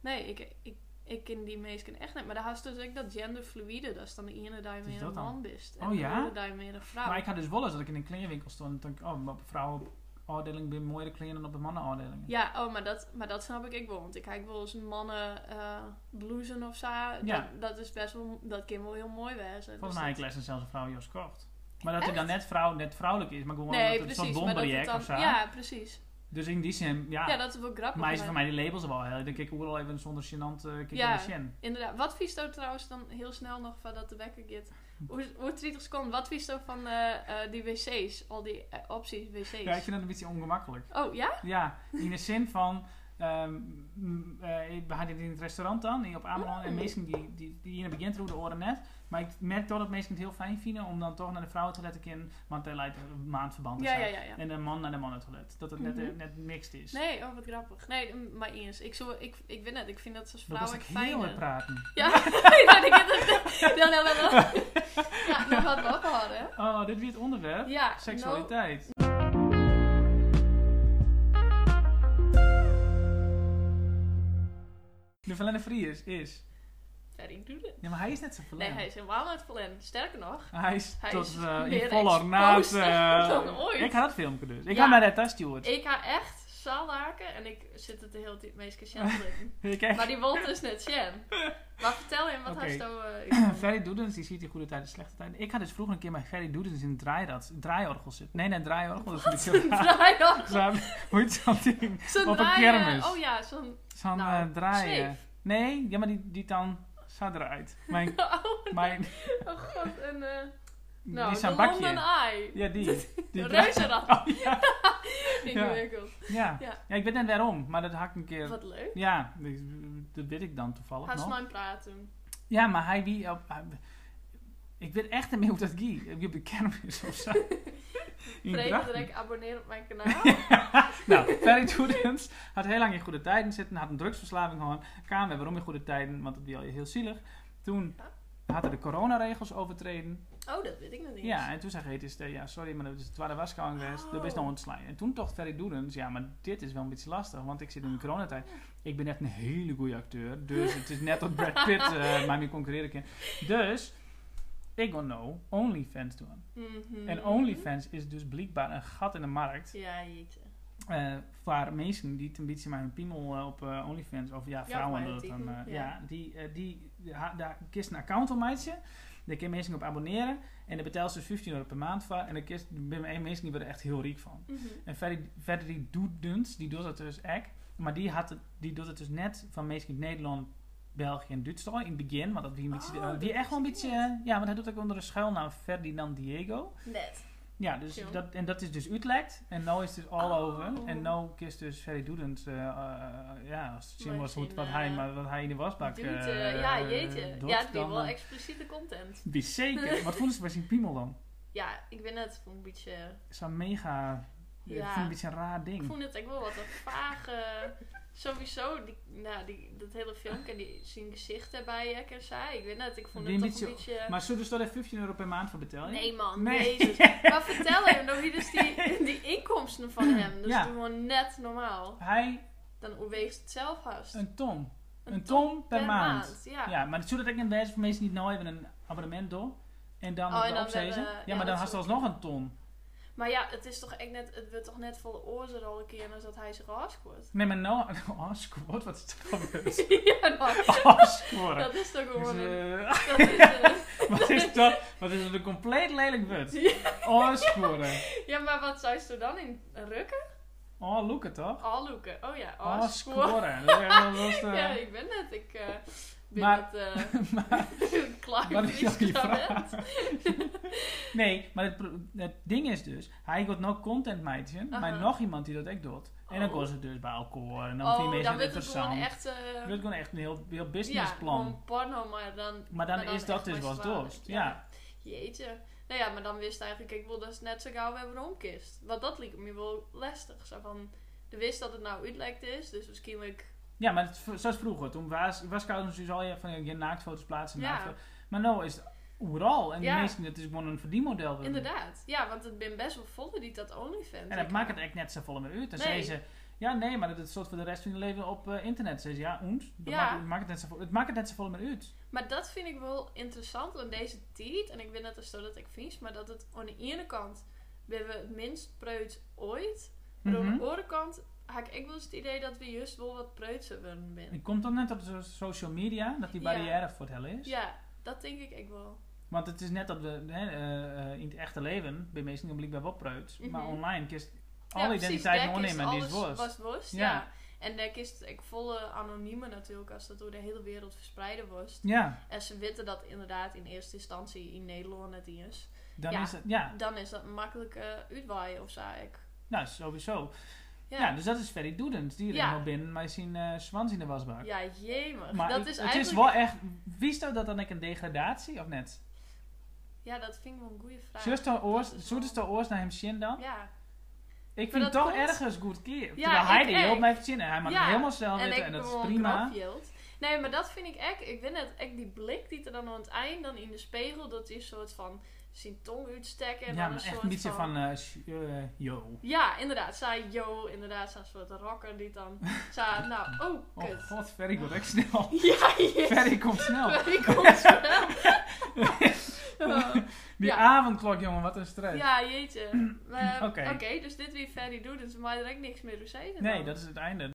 S2: Nee, ik, ik, Ik ken die meesken echt niet. Maar daar had je dus ook dat genderfluide. Dat is dan de ene die meer een
S1: dat dan?
S2: man bist. En
S1: Oh ja?
S2: de andere die meer een vrouw.
S1: Maar ik had dus wel eens dat ik in een kledingwinkel stond en dacht ik, oh, maar op vrouwenafdeling ben mooiere kleren dan op de mannenafdeling.
S2: Ja, oh, maar dat, maar dat snap ik ook wel. Want ik kijk wel eens mannen eh blousen of zo.
S1: Ja.
S2: Dat, dat is best wel, dat kan wel heel mooi wezen.
S1: Volgens
S2: Dus
S1: mij heb ik
S2: dat-
S1: lessen zelfs een vrouw juist kocht. Maar dat het dan net, vrouw, net vrouwelijk is, maar gewoon
S2: Nee,
S1: dat het
S2: precies.
S1: zo'n
S2: maar dat het
S1: bomberjack
S2: dan,
S1: of zo.
S2: ja, precies.
S1: Dus in die zin, ja.
S2: Ja. dat is wel grappig.
S1: maar is
S2: maar-
S1: voor mij die labels wel heel. Dan kijk ik ook wel even zonder gênant eh kijk
S2: Ja.
S1: in de zin.
S2: Inderdaad. Wat vies ook trouwens dan heel snel nog van dat de wekker gaat? Hoe, hoe 30 seconden. Wat vies ook van eh, eh, die wc's? Al die eh, opties wc's.
S1: Ja, ik vind dat een beetje ongemakkelijk.
S2: Oh ja?
S1: Ja, in de zin van. ehm, m, eh, ik- we hadden dit in het restaurant dan, hier op Ameland. En
S2: Mm.
S1: mensen die, die, die hier begint roepen de oren net. Maar ik merk toch dat mensen het heel fijn vinden om dan toch naar de vrouwentoilet te gaan. Want daar leidt een maandverband
S2: Ja,
S1: zijn.
S2: ja, ja. ja.
S1: En de man naar de mannentoilet. Dat het net,
S2: Mhm.
S1: eh, net mixed is.
S2: Nee, oh wat grappig. Nee, m- maar eens. Ik, zo, ik, ik weet het. Ik vind dat als
S1: dat was
S2: vrouwen
S1: ik
S2: ik
S1: heel erg
S2: fijn.
S1: praten.
S2: Ja, ja, ik heb het. Ja, ja, ja, ja. Ja, dat had we ook al hadden.
S1: Oh, dit weer het onderwerp.
S2: Ja, nou,
S1: Seksualiteit. De Verlenne Fries is.
S2: Ferry nou, doet het.
S1: Ja, maar hij is net zo
S2: Nee,
S1: verlenne.
S2: hij is helemaal uit Verlen. Sterker nog,
S1: Hij is
S2: Hij
S1: tot
S2: is
S1: eh,
S2: meer
S1: in volle ornaat.
S2: exposed
S1: eh,
S2: dan ooit.
S1: Ik had dat filmpje dus. Ik
S2: Ja.
S1: ga naar Retta Stewart.
S2: ik ga echt zaaldaken en ik zit het de hele tijd meest gechandeld in.
S1: Ik echt.
S2: Maar die Wolt is net Shen. Maar vertel hem wat
S1: Oké.
S2: hij zo... eh,
S1: Ferry Doedens, die ziet die goede tijden, slechte tijden. Ik had dus vroeger een keer met Ferry Doedens in een draairat, draaiorgel zitten. Nee, nee, een draaiorgel. Dat is
S2: zo'n draaier.
S1: Samen, hoe heet zo'n ding?
S2: Zo'n
S1: Op een
S2: draaier-
S1: kermis.
S2: Oh ja, zo'n...
S1: Zo'n
S2: Nou,
S1: eh, draaien.
S2: zweef.
S1: Nee, ja, maar die, die dan... Zo draait. Mijn,
S2: Oh,
S1: mijn,
S2: oh god, een... eh
S1: die
S2: nou,
S1: is een
S2: de
S1: bakje.
S2: London Eye.
S1: Ja, die. die
S2: Een
S1: draait-
S2: reuzenrad.
S1: Oh, ja.
S2: Ingewikkeld.
S1: Ja.
S2: Ja.
S1: ja, ik weet net waarom, maar dat hak een keer...
S2: Wat leuk.
S1: Ja, die- dat weet ik dan toevallig
S2: Ga
S1: nog.
S2: eens met hem praten.
S1: Ja, maar hij wie... op- hij- ik weet echt niet meer hoe dat ging. Wie op de kermis of zo. In
S2: Vreemd
S1: Drachten.
S2: direct abonneren op mijn kanaal.
S1: nou, Ferry Doedens had heel lang in goede tijden zitten. Had een drugsverslaving gehad. Kwam weer waarom in goede tijden, want dat was al heel zielig. Toen had hij de coronaregels overtreden.
S2: Oh, dat weet ik nog niet.
S1: Ja, en toen zei Geet is de, ja, sorry, maar dat is de tweede wasgang geweest.
S2: Oh.
S1: Dat is nog ontslaan. En toen dacht Ferry Doedens, ja, maar dit is wel een beetje lastig, want ik zit in de coronatijd. Ik ben net een hele goede acteur, dus het is net dat Brad Pitt eh mij mee concurreren kan. Dus, ik ga nou OnlyFans doen.
S2: Mhm.
S1: En OnlyFans is dus blijkbaar een gat in de markt
S2: Ja, jeetje.
S1: eh, voor mensen die het een beetje maar hun piemel eh, op eh, OnlyFans, of ja, vrouwen,
S2: maar
S1: dat
S2: dat
S1: dan,
S2: die-
S1: eh,
S2: ja.
S1: ja, die, eh, die, die ha- daar kiest een account van meisje. Daar kun je mensen op abonneren. En daar betaalt ze dus 15 euro per maand voor. En daar kiest- ben één mensen die worden er echt heel riek van.
S2: Mhm.
S1: En verder, verder die Doedens, die doet het dus echt. Maar die, had het, die doet het dus net van meestal in Nederland, België en Duitsland in het begin. Want dat die, een beetje,
S2: Oh, dat
S1: die echt wel een
S2: wist
S1: beetje...
S2: ik
S1: eh, Ja, want hij doet ook onder de schuilnaam Ferdinand Diego.
S2: Net.
S1: Ja, dus
S2: Chill.
S1: dat, en dat is dus uitlekt. En nou is het dus all
S2: Oh.
S1: over. En nou kiest dus Ferry Doedens, eh, eh, eh, ja, als het zien was
S2: Maar
S1: hoe,
S2: zien,
S1: wat,
S2: eh,
S1: hij, maar wat hij in de wasbak
S2: Doet,
S1: eh,
S2: eh, ja, jeetje.
S1: doet,
S2: ja, het biedt
S1: dan,
S2: wel
S1: eh,
S2: expliciete content.
S1: die zeker. wat voelen ze bij zijn piemel dan?
S2: Ja, ik ben het voor een beetje...
S1: Zo'n mega... Ik
S2: Ja.
S1: vind het een beetje een raar ding.
S2: Ik vond het echt wel wat een vage... Sowieso, die, nou, die, dat hele filmpje, die, zijn gezicht erbij, ik en zij. Ik weet net, ik vond
S1: Die
S2: het
S1: een
S2: toch een beetje...
S1: Maar zullen ze daar even 15 euro per maand voor betalen?
S2: Nee man,
S1: Nee.
S2: jezus. Maar vertel hem dan wie dus die, die inkomsten van hem. Dat
S1: Ja.
S2: is gewoon net normaal.
S1: Hij,
S2: Dan overweegt het zelf haast.
S1: een ton. Een, ton, per, maand.
S2: Ja.
S1: Ja, maar zullen dat ik een wijze voor mensen die nou even een abonnement doen? En dan,
S2: Oh, en
S1: dat
S2: dan
S1: opzeggen?
S2: hebben-
S1: ja,
S2: ja,
S1: maar dan
S2: dat
S1: had ze
S2: soort-
S1: alsnog een ton.
S2: Maar ja, het is toch echt net, het wordt toch net volle oorzaak al een keer als dat hij zich gehaast wordt.
S1: Nee, maar nou... Oh, squat, wat is dat dan weer?
S2: ja, dat,
S1: Oh, scoren.
S2: dat is toch
S1: Dus,
S2: gewoon een...
S1: eh,
S2: Dat is een-
S1: wat is dat? Wat is dat een compleet lelijk wit? Oh, scoren.
S2: ja, maar wat zou je er dan in rukken?
S1: Oh, look het toch?
S2: Al loeken. Oh ja,
S1: Oh,
S2: al scoren.
S1: scoren. Dat is echt wel eh, lastig.
S2: Ja, ik ben net, ik eh, ben
S1: Maar-
S2: net eh klaar
S1: Wat is
S2: voor
S1: jouw
S2: die
S1: vraag? Nee, maar het, pro- het ding is dus, hij wordt nog content meidje, maar
S2: Aha.
S1: nog iemand die dat echt doet. En dan
S2: Oh.
S1: komt ze dus bij alcohol en dan vind je
S2: Oh,
S1: mensen
S2: dan
S1: het
S2: wordt het gewoon
S1: interessant.
S2: echt... eh,
S1: Dat is gewoon echt een heel, heel
S2: ja,
S1: businessplan.
S2: gewoon porno, maar dan...
S1: maar dan, is
S2: echt
S1: dat dus wel
S2: zwaarder.
S1: dorst. Ja.
S2: Jeetje. Nou ja, maar dan wist eigenlijk, ik wil dat is net zo gauw weer omkist. Want dat liep me wel lastig. Zo van, de wist dat het nou uitlekt is, dus misschien ik...
S1: ja, maar het, zoals vroeger, toen was, was ik dus al je van je naaktfoto's plaatsen.
S2: Ja.
S1: naaktfoto's. Maar nu is het overal. En de
S2: Ja.
S1: meesten, het is gewoon een verdienmodel.
S2: Inderdaad. Ja, want het ben best wel volle die dat OnlyFans.
S1: En dat maakt het echt net zo volle meer uit. Dan zei
S2: Nee.
S1: ze, Ja, nee, maar dat is soort voor de rest van je leven op eh, internet. Ze ja, ons.
S2: Ja.
S1: Het maakt het net zo vol- het maakt het net zo vol meer uit.
S2: Maar dat vind ik wel interessant aan deze tijd. En ik weet net als dat ik vind, maar dat het aan de ene kant ben we het minst preuts ooit. Maar aan
S1: Mhm.
S2: de andere kant heb ik wel eens het idee dat we juist wel wat preutser worden
S1: Het
S2: ben.
S1: komt dan net op de social media dat die
S2: Ja.
S1: barrière voor het hel is.
S2: Ja, dat denk ik ik wel.
S1: Want het is net dat we hè, eh, eh, in het echte leven, bij mensen blijkbaar wel preuts, maar
S2: Mhm.
S1: online kist
S2: ja,
S1: alle
S2: precies,
S1: identiteit
S2: daar kist
S1: aannemen en die is
S2: alles
S1: worst.
S2: was worst, ja.
S1: Ja.
S2: En daar kist ik volle anonieme natuurlijk als dat door de hele wereld verspreiden wordt.
S1: Ja,
S2: En ze weten dat inderdaad in eerste instantie in Nederland het is.
S1: dan
S2: Ja.
S1: is het, ja,
S2: Dan is dat makkelijk eh uitwaaien of zo. Ik.
S1: nou sowieso.
S2: Ja.
S1: Ja, dus dat is Ferry Doedens, die
S2: Ja.
S1: er nog binnen, maar zien eh zwans in de wasbak.
S2: Ja, jemig.
S1: Maar
S2: dat
S1: ik-
S2: is
S1: het
S2: eigenlijk...
S1: is wel echt, wist je dat dan ik een degradatie of net?
S2: Ja, dat vind ik wel een goede vraag.
S1: Zullen de oors,
S2: Dat is
S1: zullen de oors naar hem zien dan?
S2: Ja.
S1: Ik
S2: Maar
S1: vind het
S2: dat
S1: toch
S2: komt-
S1: ergens goed keer.
S2: Ja,
S1: Terwijl hij
S2: ik
S1: die
S2: echt.
S1: heel blijft zien en hij maakt
S2: Ja,
S1: het helemaal zelf
S2: En ik
S1: weten
S2: ben
S1: en dat
S2: wel
S1: is
S2: een
S1: prima.
S2: knopjeeld. Nee, maar dat vind ik echt... Ik weet net, echt die blik die er dan aan het eind dan in de spiegel... Dat is een soort van zijn tong uitsteken.
S1: Ja,
S2: En dan
S1: maar
S2: een
S1: echt
S2: soort
S1: niet zo van, eh, sh- eh, yo.
S2: Ja, inderdaad. Zij, yo, inderdaad. Zo'n soort rocker die dan... Zij, nou, oh,
S1: Oh
S2: kut.
S1: god, Ferry wordt echt snel.
S2: Ja, yes.
S1: Ferry komt snel.
S2: Ferry komt snel. Oh.
S1: Die
S2: Ja.
S1: avondklok, jongen, wat een stress.
S2: Ja, jeetje. Eh, Oké,
S1: Oké.
S2: dus dit weer Ferry doet, dus maar direct niks meer zeggen.
S1: Nee,
S2: dan.
S1: dat is het einde.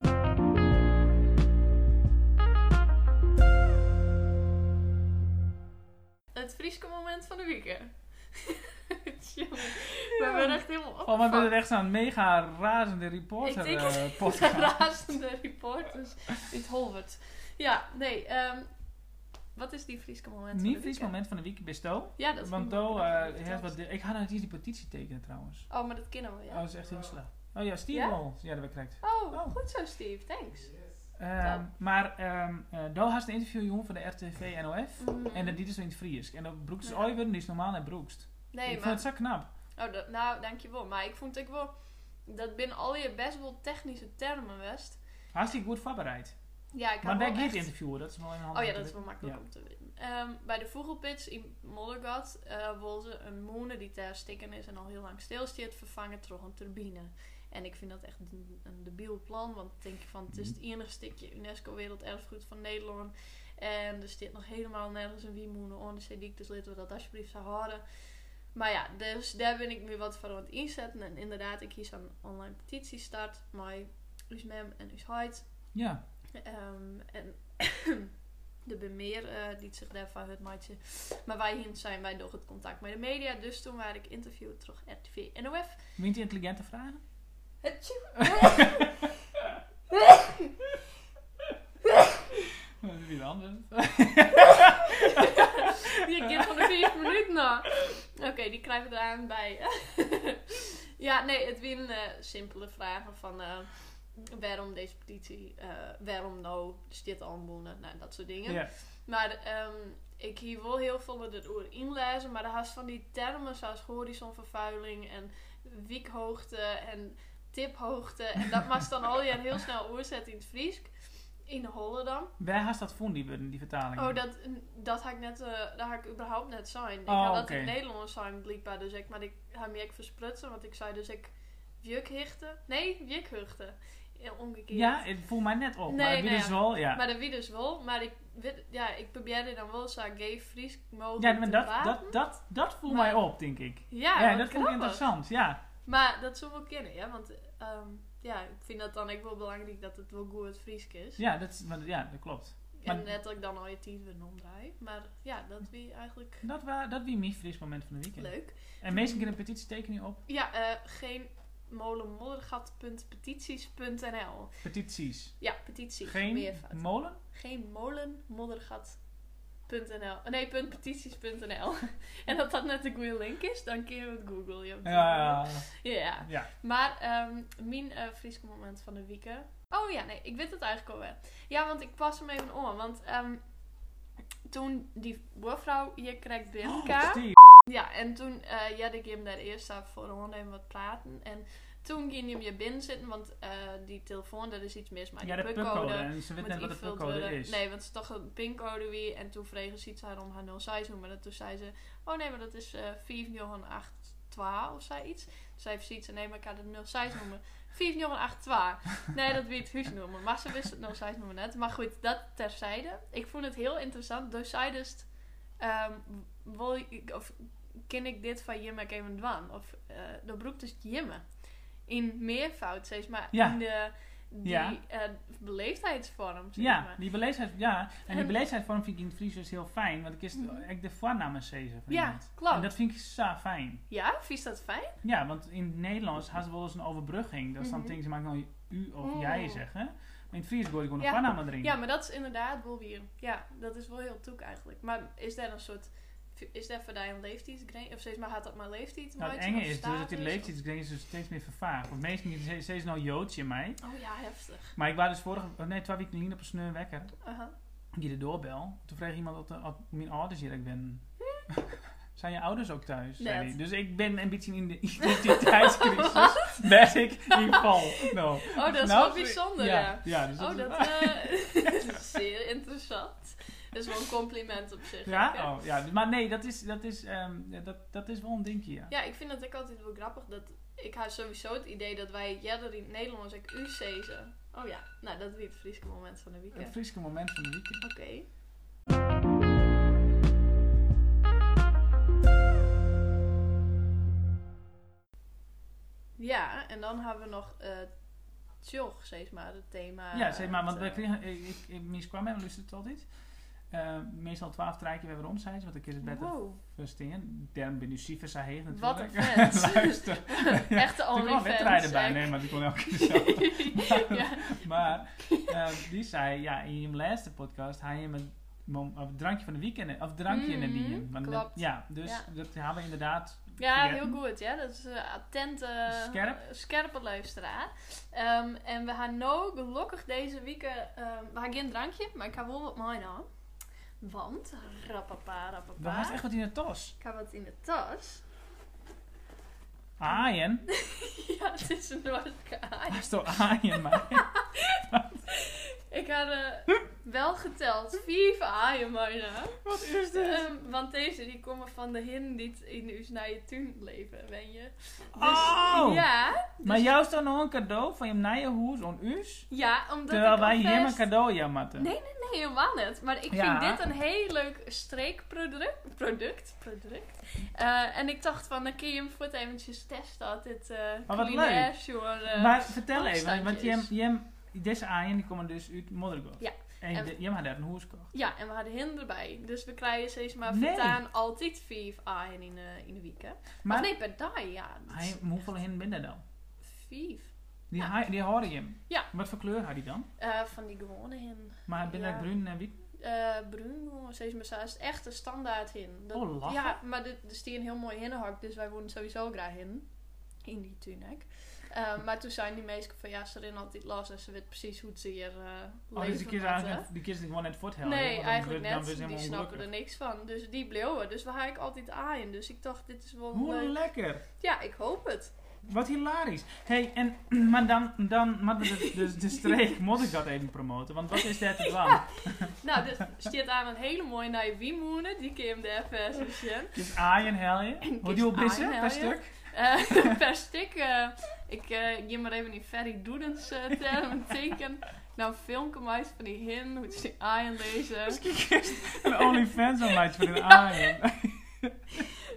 S2: Het Frieske moment van de weekend. Jongen,
S1: Ja.
S2: We zijn echt helemaal op.
S1: Oh, maar we hebben echt zo'n mega razende
S2: Ik
S1: reporter
S2: denk
S1: eh, podcast.
S2: razende reporters. Dit holwert. Ja, nee. ehm, wat is die Frieske moment van
S1: Niet
S2: de
S1: Fries
S2: weekend?
S1: moment van de week besto.
S2: Ja, dat
S1: Want
S2: vind ik
S1: do,
S2: wel
S1: eh,
S2: interessant.
S1: heeft wat de- ik ga nou niet eens die petitie tekenen trouwens.
S2: Oh, maar dat kennen we,
S1: Oh,
S2: ja.
S1: dat is echt heel slecht. Oh ja, Steve
S2: Ja?
S1: al. Ja, dat we krijgt.
S2: Oh,
S1: Oh.
S2: goed zo, Steve. Thanks.
S1: Ehm,
S2: Nou.
S1: maar ehm eh Do had een interview jongen van de RTV NOF.
S2: Mhm.
S1: En dat dit is in het Fries. En dat Broekst
S2: Ja.
S1: Oiwen, die is normaal naar Broekst.
S2: Nee,
S1: ik
S2: maar...
S1: vond het zo knap.
S2: Oh, dat, nou, dankjewel. Maar ik vond ik wel... Dat binnen al je best wel technische termen, West.
S1: Hartstikke goed voorbereid.
S2: Ja, ik
S1: Maar
S2: had
S1: daar
S2: wel
S1: gaat
S2: echt-
S1: interviewen, dat is wel een handig.
S2: Oh ja, dat is wel makkelijk
S1: Ja.
S2: om te weten. Ehm, bij de vogelpits in Moddergat eh wil ze een moene die ter stikken is en al heel lang stilstaat vervangen door een turbine. En ik vind dat echt een, een debiel plan, want ik denk van het is het enige stukje UNESCO Werelderfgoed van Nederland. En er zit nog helemaal nergens een wiemoene onder Sediek, dus laten we dat alsjeblieft zo houden. Maar ja, dus daar ben ik nu wat voor aan het inzetten. En inderdaad, ik kies een online petitie start, maar us mem en us heid.
S1: Ja,
S2: Ehm, en er zijn meer eh, die zich daarvan het maatje. Maar wij hier zijn wij nog het contact met de media. Dus toen waren ik interviewd terug RTV NOF.
S1: wint intelligente vragen? Wie anders?
S2: Die kind van de vier minuten nou. Oké, die krijgen we eraan bij. ja, nee, het wien eh, simpele vragen van eh, waarom deze petitie, eh, waarom nou, is dit al een boende? nou dat soort dingen.
S1: Ja.
S2: Maar ehm, ik hier wil heel veel met het oor inlezen, maar de haast van die termen zoals horizonvervuiling en wiekhoogte en tiphoogte. En dat maakt dan al je heel snel oorzetten in het Fries. In de Holle dan.
S1: Waar haast dat vond, die, woorden, die vertaling?
S2: Oh, dat, dat had ik net, eh dat had ik überhaupt net zijn. Ik
S1: Oh,
S2: had dat
S1: oké.
S2: in Nederland zijn, blijkbaar. Dus ik, maar ik had me echt versprutsen, want ik zei dus ik wjukhichten. Nee, wjukhuchten. Eh, Omgekeerd.
S1: Ja, het voelt mij net op.
S2: Nee,
S1: maar wie
S2: nee,
S1: dus
S2: ja.
S1: wel, ja.
S2: Maar dat wie dus wel. Maar ik, weet- ja, ik probeerde dan wel zo gay Fries
S1: ja,
S2: mogelijk
S1: maar
S2: te
S1: dat,
S2: praten.
S1: dat, dat, dat voelt mij
S2: Maar-
S1: op, denk ik.
S2: Ja,
S1: ja, dat
S2: wat
S1: vond ik
S2: grappig.
S1: interessant, ja.
S2: Maar dat zou wel kennen, ja. Want ehm, ja, ik vind dat dan ook wel belangrijk dat het wel goed Fries is.
S1: Ja, dat, is- maar, ja, dat klopt. maar-
S2: En net dat ik dan al je tien weer omdraai. Maar ja, dat wie eigenlijk
S1: Dat, wa, dat wie mijn fris moment van de weekend.
S2: leuk.
S1: En meestal kunnen petitie tekenen op
S2: Ja, eh geen molenmoddergat.petities.nl.
S1: petities.
S2: Ja, petitie.
S1: Geen
S2: meervoud.
S1: molen?
S2: geen molenmoddergat.nl. Nee, punt petities.nl. en dat dat net de goede link is, dan kun je het googlen. Ja,
S1: Ja,
S2: Ja.
S1: ja.
S2: Maar ehm mijn eh Frieske moment van de weekend. Oh ja, nee, ik weet het eigenlijk al wel. Ja, want ik pas hem even om. Want ehm, toen die buurvrouw hier kreeg bij elkaar.
S1: Steve.
S2: Ja, en toen eh had ik hem daar eerst af voor een even wat praten. En toen ging hij weer binnen zitten, want eh, die telefoon, daar is iets mis. Maar
S1: Ja,
S2: die
S1: de
S2: pincode
S1: pubcode. En ze weet
S2: moet
S1: net wat de
S2: ingevuld
S1: pubcode
S2: worden.
S1: is.
S2: Nee, want het is toch een pincode wie. En toen vregen ze iets haar om haar 06 noemen. En toen zei ze, oh nee, maar dat is eh 50812 of zei iets. Toen zei ze iets, nee, maar ik had het 06 noemen. Vijf jongen, acht zwaar. Nee, dat wie het huis noemen. Maar ze wist het nog steeds nog maar net. Maar goed, dat terzijde. Ik vond het heel interessant. Dus zij dus... ehm, wil ik- of ken ik dit van Jimmek even dwan? Of eh de broek dus Jimme. In meervoud, zeg maar.
S1: Ja.
S2: In de... Die
S1: Ja.
S2: eh, beleefdheidsvorm, zeg
S1: Ja,
S2: maar.
S1: die beleefdheid, ja. En die
S2: En-
S1: beleefdheidsvorm vind ik in het Fries dus heel fijn. Want ik is
S2: Mhm.
S1: echt de voornaam is Cezar. van
S2: Ja,
S1: iemand.
S2: klopt.
S1: En dat vind ik zo fijn.
S2: Ja, vies dat fijn?
S1: Ja, want in het Nederlands had ze wel eens een overbrugging. Dat is dan
S2: Mhm.
S1: denk ze maakt nooit u of
S2: Mm.
S1: jij zeggen. Maar in het Fries wil je gewoon een
S2: Ja.
S1: voornaam erin.
S2: Ja, maar dat is inderdaad wel weer. Ja, dat is wel heel toek eigenlijk. Maar is daar een soort. Is daar voor die een leeftijdsgrens? Of steeds maar had dat maar leeftijd?
S1: Nou, het
S2: nooit? Of
S1: enge is dus dat die
S2: status?
S1: leeftijd, ik denk, is dus steeds meer vervaagd. Want meestal niet ze- ze is nou Joods in mij.
S2: Oh ja, heftig.
S1: Maar ik was dus vorige, oh nee, twee weken geleden op een sneu wekker.
S2: Aha.
S1: Die de doorbel. Toen vroeg iemand of, de- of mijn ouders hier ik ben.
S2: Hm?
S1: Zijn je ouders ook thuis? zei
S2: Net.
S1: hij. Dus ik ben een beetje in de identiteitscrisis. ben ik in ieder geval. No.
S2: Oh, dat is
S1: Nou,
S2: wel bijzonder, ja.
S1: Ja, ja, dus
S2: Oh, dat
S1: is,
S2: eh, is zeer interessant. Dat is wel een compliment op zich. ook, hè?
S1: ja? Oh, ja, dus- maar nee, dat is, dat is, ehm, ja, dat, dat is wel een dingje, ja.
S2: Ja, ik vind dat ook altijd wel grappig. Dat, ik had sowieso het idee dat wij jadder in het Nederlands ook u zezen. Oh ja, nou dat weer het Friese moment van de
S1: Het
S2: weekend.
S1: Friese moment van de weekend.
S2: Oké. Ja, en dan hebben we nog eh Tjog, zeg maar, het thema.
S1: ja, zeg maar, want
S2: eh,
S1: we kregen, ik, ik, ik mis kwam en luistert het altijd. Eh, meestal twaalf treintjes weer rond zijn, ze, want dan kun je het dus beter
S2: wow,
S1: verstehen. Dan ben je super saai heeg
S2: Wat
S1: natuurlijk.
S2: een fans.
S1: Luister.
S2: Echte
S1: Er kwam wedstrijden
S2: OnlyFans.
S1: bij,
S2: hè.
S1: nee, maar die kon elke keer zo.
S2: ja.
S1: Maar eh, die zei, ja, in je laatste podcast haal je een mom- of drankje van de weekend, of drankje in de
S2: Mhm,
S1: dien. Want dat-
S2: klopt.
S1: ja, dus
S2: Ja.
S1: dat hebben we inderdaad.
S2: Ja,
S1: vergeten.
S2: heel goed. Ja. Dat is eh attent, eh,
S1: Scherp.
S2: scherpe luisteraar. Ehm, en we gaan nu gelukkig deze weekend... ehm, we gaan geen drankje, maar ik ga wel wat mooi aan. Want, rappapa,
S1: We hadden
S2: rappapa,
S1: echt wat in de tas.
S2: ik heb wat in de tas.
S1: Aaien.
S2: ja, het is een Noordkaai.
S1: Waar is toch aaien, maar?
S2: Ik had eh, wel geteld vier aaien bijna.
S1: Wat is dit?
S2: Ehm, want deze die komen van de hin die t- in uw snije tuin leven, weet je. Dus,
S1: Oh!
S2: Ja, dus-
S1: Maar jou is dan nog een cadeau van je nije hoes, on us?
S2: ja, omdat
S1: Terwijl
S2: ik
S1: wij hier
S2: alvast-
S1: een cadeau Eh, jammatten.
S2: Nee, Nee, helemaal net. Maar ik
S1: Ja.
S2: vind dit een heel leuk streekproduct. Product, product. Eh, en ik dacht van, dan kun je hem voort eventjes testen. Altijd eh
S1: Maar wat
S2: culinair,
S1: leuk.
S2: sure, eh.
S1: Maar vertel even, want
S2: afstandjes.
S1: Jem, Jem, deze aaien die komen dus uit Moddergoed.
S2: Ja.
S1: En,
S2: En-
S1: de- Jem had daar een hoes gekocht.
S2: Ja, en we hadden hinder erbij. Dus we krijgen steeds maar
S1: Nee.
S2: voortaan altijd vijf aaien in, eh, in de week, hè. Maar
S1: Maar
S2: nee, per dag, ja. dat is
S1: hij, hoeveel hen binnen dan?
S2: Vijf.
S1: Die,
S2: Ja.
S1: haai- die horen Jem.
S2: Ja.
S1: Wat voor kleur had hij dan?
S2: Eh, van die gewone hin.
S1: Maar ben
S2: Ja.
S1: dat bruin en wit?
S2: eh bruin gewoon steeds meer saus. Echt een standaard hin. Dat-
S1: Oh, lachen.
S2: Ja, maar dit- er stie een heel mooi hinnenhak, dus wij wonen sowieso graag hin. In die tunek. Eh, maar toen zijn die meesten van ja, ze erin altijd last en ze weet precies hoe het ze hier eh
S1: Oh,
S2: leven
S1: dus die kiezen
S2: laten.
S1: eigenlijk net- die kiezen gewoon net voor het helpen.
S2: Nee, eigenlijk
S1: Dan
S2: net.
S1: wordt
S2: Die
S1: helemaal
S2: snappen er
S1: ongelukkig.
S2: niks van. Dus die bleeuwen. Dus we haal ik altijd aaien. Dus ik dacht, dit is wel een
S1: Hoe
S2: leuk.
S1: lekker!
S2: Ja, ik hoop het.
S1: Wat hilarisch! hey, en, maar dan, dan maar de, de, de streek, moet ik dat even promoten? Want wat is dat te dwan?
S2: Nou, dus stiert aan een hele mooie nieuwe wiemoenen. Die Kim de FS is in.
S1: Dus aaien, helje.
S2: Kies
S1: Hoe duur is
S2: aaien,
S1: het per
S2: helje.
S1: stuk?
S2: Eh, per stuk. eh, ik eh geef maar even die Ferry Doedens eh term een teken. Nou, filmpje maar eens van die hin, hoe ze die aaien lezen.
S1: Misschien is een OnlyFans aan mij voor een aaien.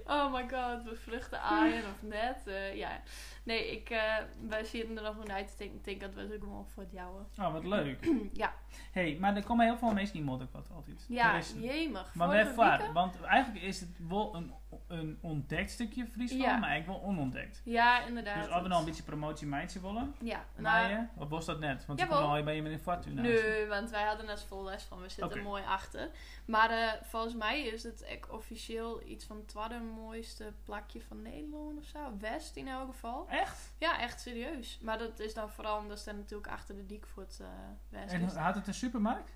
S2: Oh my god, bevruchte aaien of net. eh, ja. Nee, ik, eh, wij zitten er nog wel uit te denken. Ik denk dat we het ook gewoon voor het jouwe.
S1: Oh, wat leuk.
S2: ja,
S1: hey, maar er komen heel veel mensen die modder wat altijd. Er
S2: ja
S1: is-
S2: jemig.
S1: Maar
S2: Vorige
S1: wij vaar,
S2: weekend-
S1: want eigenlijk is het wel een, een ontdekt stukje Friesland,
S2: Ja.
S1: maar eigenlijk wel onontdekt.
S2: Ja, inderdaad.
S1: Dus als we nou een beetje promotie meidje willen,
S2: Ja, nou,
S1: Naaien? Of was dat net? Want ik
S2: Jawel.
S1: kom al bij je met een fortuin
S2: Nee, want wij hadden net vol les van. We zitten
S1: Nou, Oké.
S2: mooi achter. Maar eh, volgens mij is het echt officieel iets van het tweede mooiste plakje van Nederland of zo. West in elk geval.
S1: Echt?
S2: Ja, echt serieus. Maar dat is dan vooral omdat ze daar natuurlijk achter de diek voor het eh, West
S1: En
S2: is.
S1: had het een supermarkt?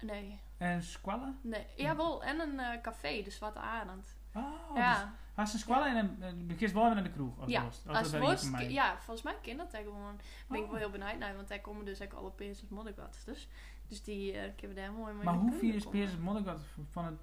S2: Nee,
S1: En squallen?
S2: nee. Jawel, en een eh, café, de Zwarte Arend.
S1: Oh, dus
S2: ja,
S1: had ze een squallen en een- en een kist wel weer naar de kroeg. Als
S2: Ja,
S1: worst. Als
S2: als
S1: dat wel hier
S2: worst,
S1: voor mij.
S2: ja, volgens mij ken dat daar gewoon. Daar ben ik
S1: Oh.
S2: wel heel benieuwd naar, want daar komen dus ook alle Peers en Moddergat. Dus, dus die eh kunnen daar mooi mee
S1: Maar
S2: naar
S1: hoe
S2: kunnen
S1: vier is
S2: komen.
S1: Peers het moddergat van het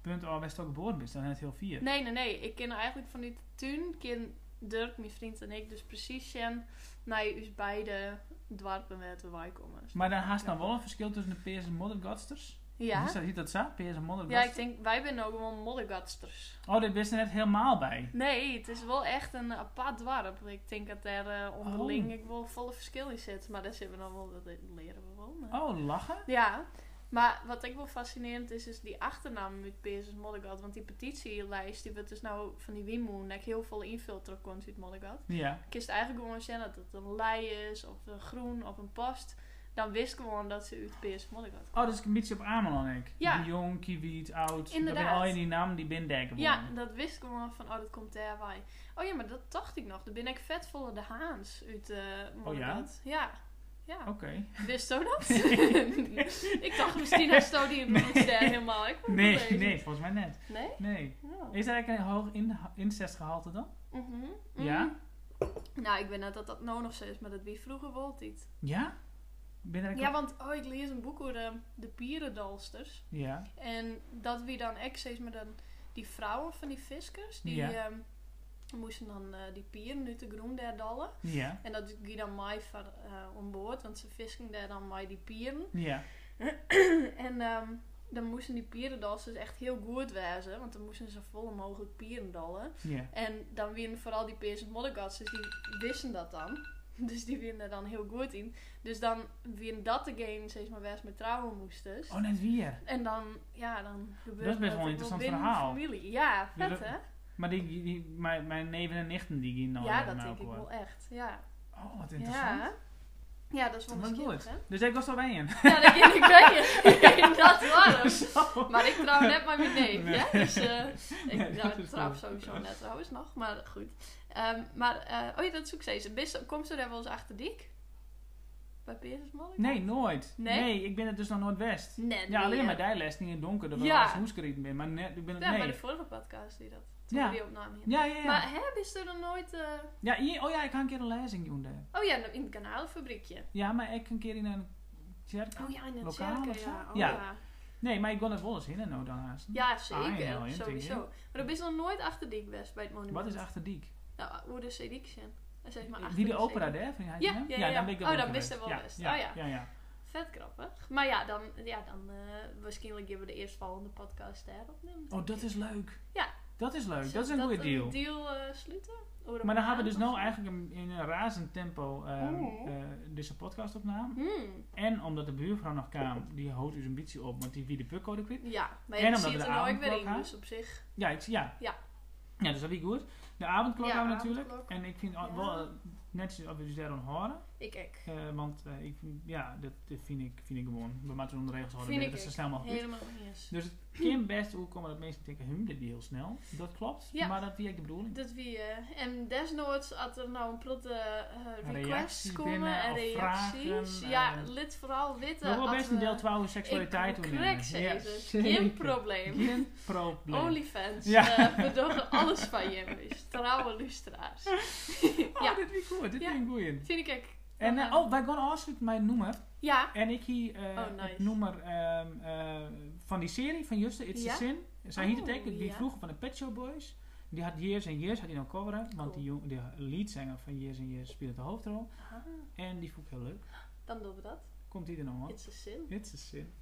S1: punt al best ook geboren is? Dan net heel vier.
S2: Nee, nee, nee. Ik ken eigenlijk vanuit de tuin ken Dirk, mijn vriend en ik, dus precies zijn naar ons beide dwarpen met wij komen.
S1: Maar dan haast dan wel een verschil tussen de PS en Modern Godsters.
S2: Ja?
S1: Is dat, is dat zo? PS en Modern
S2: Ja, ik
S1: Godsters?
S2: denk, wij zijn nou gewoon moddergatsters.
S1: Oh, dit wist er net helemaal bij.
S2: Nee, het is wel echt een apart dwarp. Ik denk dat daar eh, onderling
S1: Oh.
S2: ik wel volle verschil in zit. Maar daar zitten we dan wel, dat leren we wel. maar-
S1: Oh, lachen?
S2: Ja, maar wat ik wel fascinerend is, is die achternaam met Peersus Moddergat. Want die petitielijst, die wordt dus nou van die Wimoen, ik heel veel invult terug komt uit Moddergat.
S1: Ja.
S2: Ik wist eigenlijk gewoon zeggen dat het een lei is, of een groen, of een past. Dan wist ik gewoon dat ze uit Peersus Moddergat
S1: Oh, dat is een beetje op Ameland, ik.
S2: Ja.
S1: Die Jong, Kiewiet, Oud. Dat
S2: Inderdaad.
S1: zijn al je die namen die bindenken
S2: Ja, dat wist ik gewoon van, oh, dat komt daarbij. Oh ja, maar dat dacht ik nog. Dan ben ik vet volle de Haans uit eh Monnikland.
S1: Oh
S2: ja? Ja.
S1: Oké.
S2: Wist je dat?
S1: Nee.
S2: ik dacht misschien had Sto die in Monnikland helemaal. Ik vond het
S1: Nee,
S2: wel
S1: nee,
S2: eens.
S1: volgens mij net.
S2: Nee?
S1: Nee.
S2: Oh.
S1: Is dat eigenlijk een hoog in, incestgehalte dan?
S2: Mhm, mhm.
S1: Ja?
S2: Nou, ik weet net dat dat nou nog zo is, maar dat wie vroeger wel niet.
S1: Ja? Ben ik
S2: Ja, want oh, ik lees een boek over de, de pierendalsters.
S1: ja.
S2: En dat wie dan echt steeds maar dan die vrouwen van die viskers, die
S1: Ja.
S2: ehm, moesten dan eh, die pieren uit de groen daar dallen.
S1: Ja.
S2: En dat ging dan mij van eh om boord, want ze visken daar dan mij die pieren.
S1: Ja.
S2: En ehm, dan moesten die pierendals dus echt heel goed wezen, want dan moesten ze volle mogelijk pieren dallen.
S1: Ja.
S2: En dan wien vooral die Peers Moddergats, dus die wisten dat dan. Dus die wien er dan heel goed in. Dus dan wien dat de game steeds maar wees met trouwen moesten. dus-
S1: Oh, net weer.
S2: En dan, ja, dan gebeurt
S1: Dat is best wel een
S2: ook
S1: interessant
S2: binnen
S1: verhaal.
S2: de familie. Ja,
S1: Ja,
S2: vet
S1: dat-
S2: hè?
S1: Maar die, die, mijn, mijn neven en nichten die gingen nou
S2: ja,
S1: met
S2: dat
S1: mij
S2: denk ik
S1: op, hoor.
S2: wel echt. Ja.
S1: Oh, wat interessant.
S2: Ja. ja, dat is wel
S1: Wat
S2: een
S1: goed.
S2: skip, hè?
S1: Dus ik was al bij een.
S2: Ja, dat ken ik ben je. dat was
S1: Zo.
S2: hem. Maar ik trouw net maar mijn neef,
S1: Nee.
S2: hè? Dus eh, ik
S1: Nee, dat
S2: nou,
S1: is
S2: trouw
S1: goed.
S2: sowieso net trouwens nog, maar goed. Ehm, maar, eh, oh ja, dat zoek ze eens. Bist- Komt ze daar wel eens achter dik? Bij Peers Molly?
S1: Nee, nooit.
S2: Nee?
S1: ik ben het dus nog nooit west.
S2: Nee,
S1: Ja, alleen
S2: nee,
S1: maar
S2: hè?
S1: dijles, niet in het donker, dat we
S2: Ja.
S1: ja. hoeskerieten ben. Maar net, ik ben het
S2: Ja, bij
S1: nee.
S2: de vorige podcast die dat. Toen
S1: Ja.
S2: we die opname hier.
S1: Ja, ja, ja.
S2: Maar hè, is er dan nooit... eh,
S1: ja hier, oh ja, ik had een keer een lezing doen daar.
S2: Oh ja, in het kanalenfabriekje.
S1: Ja, maar ik een keer in een kerk.
S2: Oh ja, in het
S1: Lokaal
S2: cirkel,
S1: of zo?
S2: ja. Oh,
S1: Ja.
S2: ja.
S1: Nee, maar ik kon er wel eens in en nou dan haast.
S2: Ja,
S1: Ah, ja,
S2: zeker.
S1: ja,
S2: sowieso.
S1: denk
S2: Maar dan ben je nog nooit achter die best bij het monument.
S1: Wat is Achterdiek?
S2: Nou, hoe de Sedik zijn. Hij zegt maar achter
S1: Die de
S2: die
S1: opera
S2: Sedik.
S1: daar? Van ja,
S2: Ja, ja, ja.
S1: dan ben ik er
S2: Oh,
S1: wel
S2: dan
S1: geweest.
S2: wist hij wel best.
S1: Ja,
S2: Oh, ja.
S1: ja, ja.
S2: Vet grappig. Maar ja, dan, ja, dan eh waarschijnlijk hebben we de eerstvolgende podcast daar opnemen.
S1: Oh, dat is leuk.
S2: Ja.
S1: Dat is leuk.
S2: Zullen
S1: Dat is
S2: we
S1: een goede deal.
S2: deal eh, sluiten? Over de
S1: Maar dan gaan we
S2: banaan
S1: dus
S2: of
S1: nu
S2: zo?
S1: eigenlijk een- in een razend tempo ehm,
S2: Oh.
S1: eh, deze podcast opnamen.
S2: Hmm.
S1: En omdat de buurvrouw nog kwam, die houdt dus een beetje op, want die wie de pukcode kwijt.
S2: Ja, maar
S1: En
S2: je
S1: omdat
S2: ziet
S1: we
S2: er
S1: de
S2: nou ook weer in,
S1: avondklok
S2: dus op zich.
S1: Ja, ik, ja.
S2: Ja.
S1: Ja, dus dat is goed. De avondklok
S2: Ja,
S1: hebben we natuurlijk.
S2: avondklok.
S1: En ik vind
S2: Ja.
S1: wel eh, netjes dat we dus daarom horen.
S2: Ik ek.
S1: Eh, want eh, ik, vind- ja, dat, dat vind, ik, vind ik gewoon. We moeten onder de regels houden. dat
S2: Vind ik
S1: is zo
S2: ook.
S1: snel mogelijk. is.
S2: Helemaal niet eens.
S1: Dus het kan best hoe komen dat mensen denken, hm, dit is heel snel. Dat klopt.
S2: Ja.
S1: Maar dat is ik de bedoeling.
S2: Dat wie, eh, en desnoods, als er nou een protte eh requests
S1: Reacties
S2: komen
S1: binnen
S2: en
S1: of
S2: reacties,
S1: vragen,
S2: ja,
S1: eh.
S2: lid vooral witten.
S1: We hebben wel
S2: eh, als
S1: best een
S2: we-
S1: deel 12 seksualiteit
S2: Ik
S1: doen. eh,
S2: correct ze
S1: Ja,
S2: even.
S1: zeker.
S2: dus Geen probleem.
S1: Geen probleem.
S2: Onlyfans,
S1: Ja.
S2: eh, we doen alles van je, dus trouwe lustra's.
S1: Oh,
S2: ja,
S1: dit vind ik goed. Dit
S2: Ja.
S1: vind ik boeiend.
S2: vind ik ook.
S1: En eh,
S2: Ehm,
S1: oh, wij gaan afsluiten met mijn nummer.
S2: Ja,
S1: En ik hier eh,
S2: Oh, nice.
S1: het nummer ehm, eh, van die serie van Juste, It's
S2: Ja?
S1: a Sin. Zij
S2: Oh,
S1: hiet het ook, die
S2: ja.
S1: vroeger van de Pet Shop Boys. Die had Years and Years, had hij nou coveren. Want
S2: Cool.
S1: die, jong, die leadzanger van Years and Years speelde de hoofdrol.
S2: Ah,
S1: En die vond ik heel leuk.
S2: dan doen we dat.
S1: Komt die er nog aan?
S2: It's a sin.
S1: It's a Sin.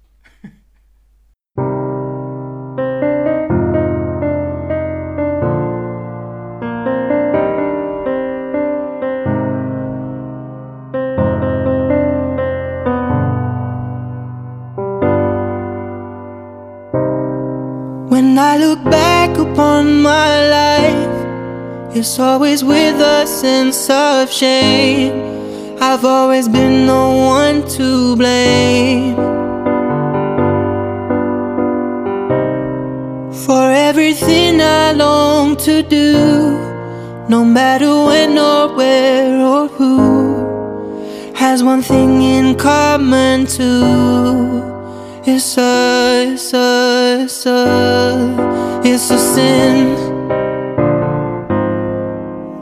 S3: When I look back upon my life, it's always with a sense of shame. I've always been the one to blame for everything I long to do, no matter when or where or who has one thing in common too. It's a, it's a, it's a, it's a sin.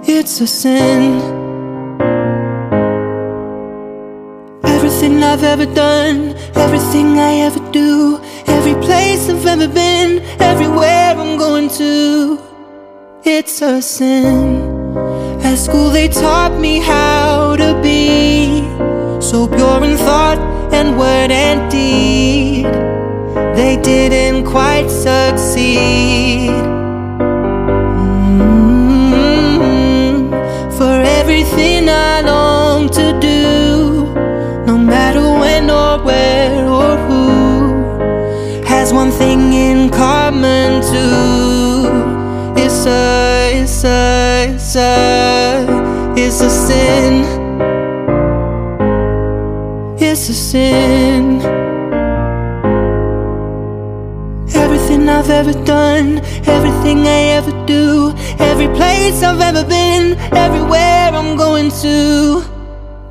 S3: It's a sin. Everything I've ever done, everything I ever do, every place I've ever been, everywhere I'm going to. It's a sin. At school, they taught me how to be so pure in thought and word and deed. They didn't quite succeed. Mm, For everything I long to do, no matter when or where or who, has one thing in common too. It's a, it's a, it's a, it's a sin. It's a sin. Everything I've ever done, everything I ever do, every place I've ever been, everywhere I'm going to,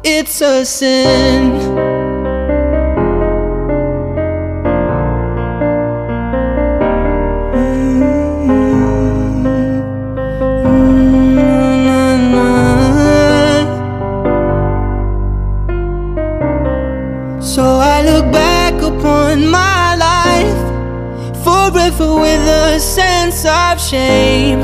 S3: it's a sin. Mm-hmm. Mm-hmm. So I look back upon my life forever with a sense of shame.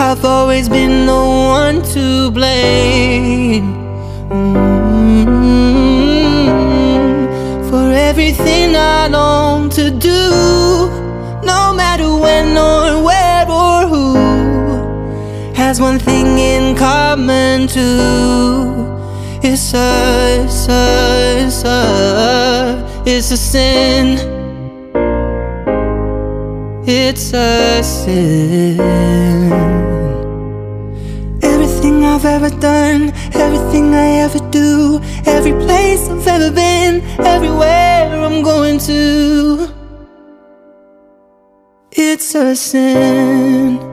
S3: I've always been the one to blame mm for everything I long to do, no matter when or where or who has one thing in common too. It's a, it's a, it's a, it's a sin. It's a sin. Everything I've ever done, everything I ever do, every place I've ever been, everywhere I'm going to. It's a sin.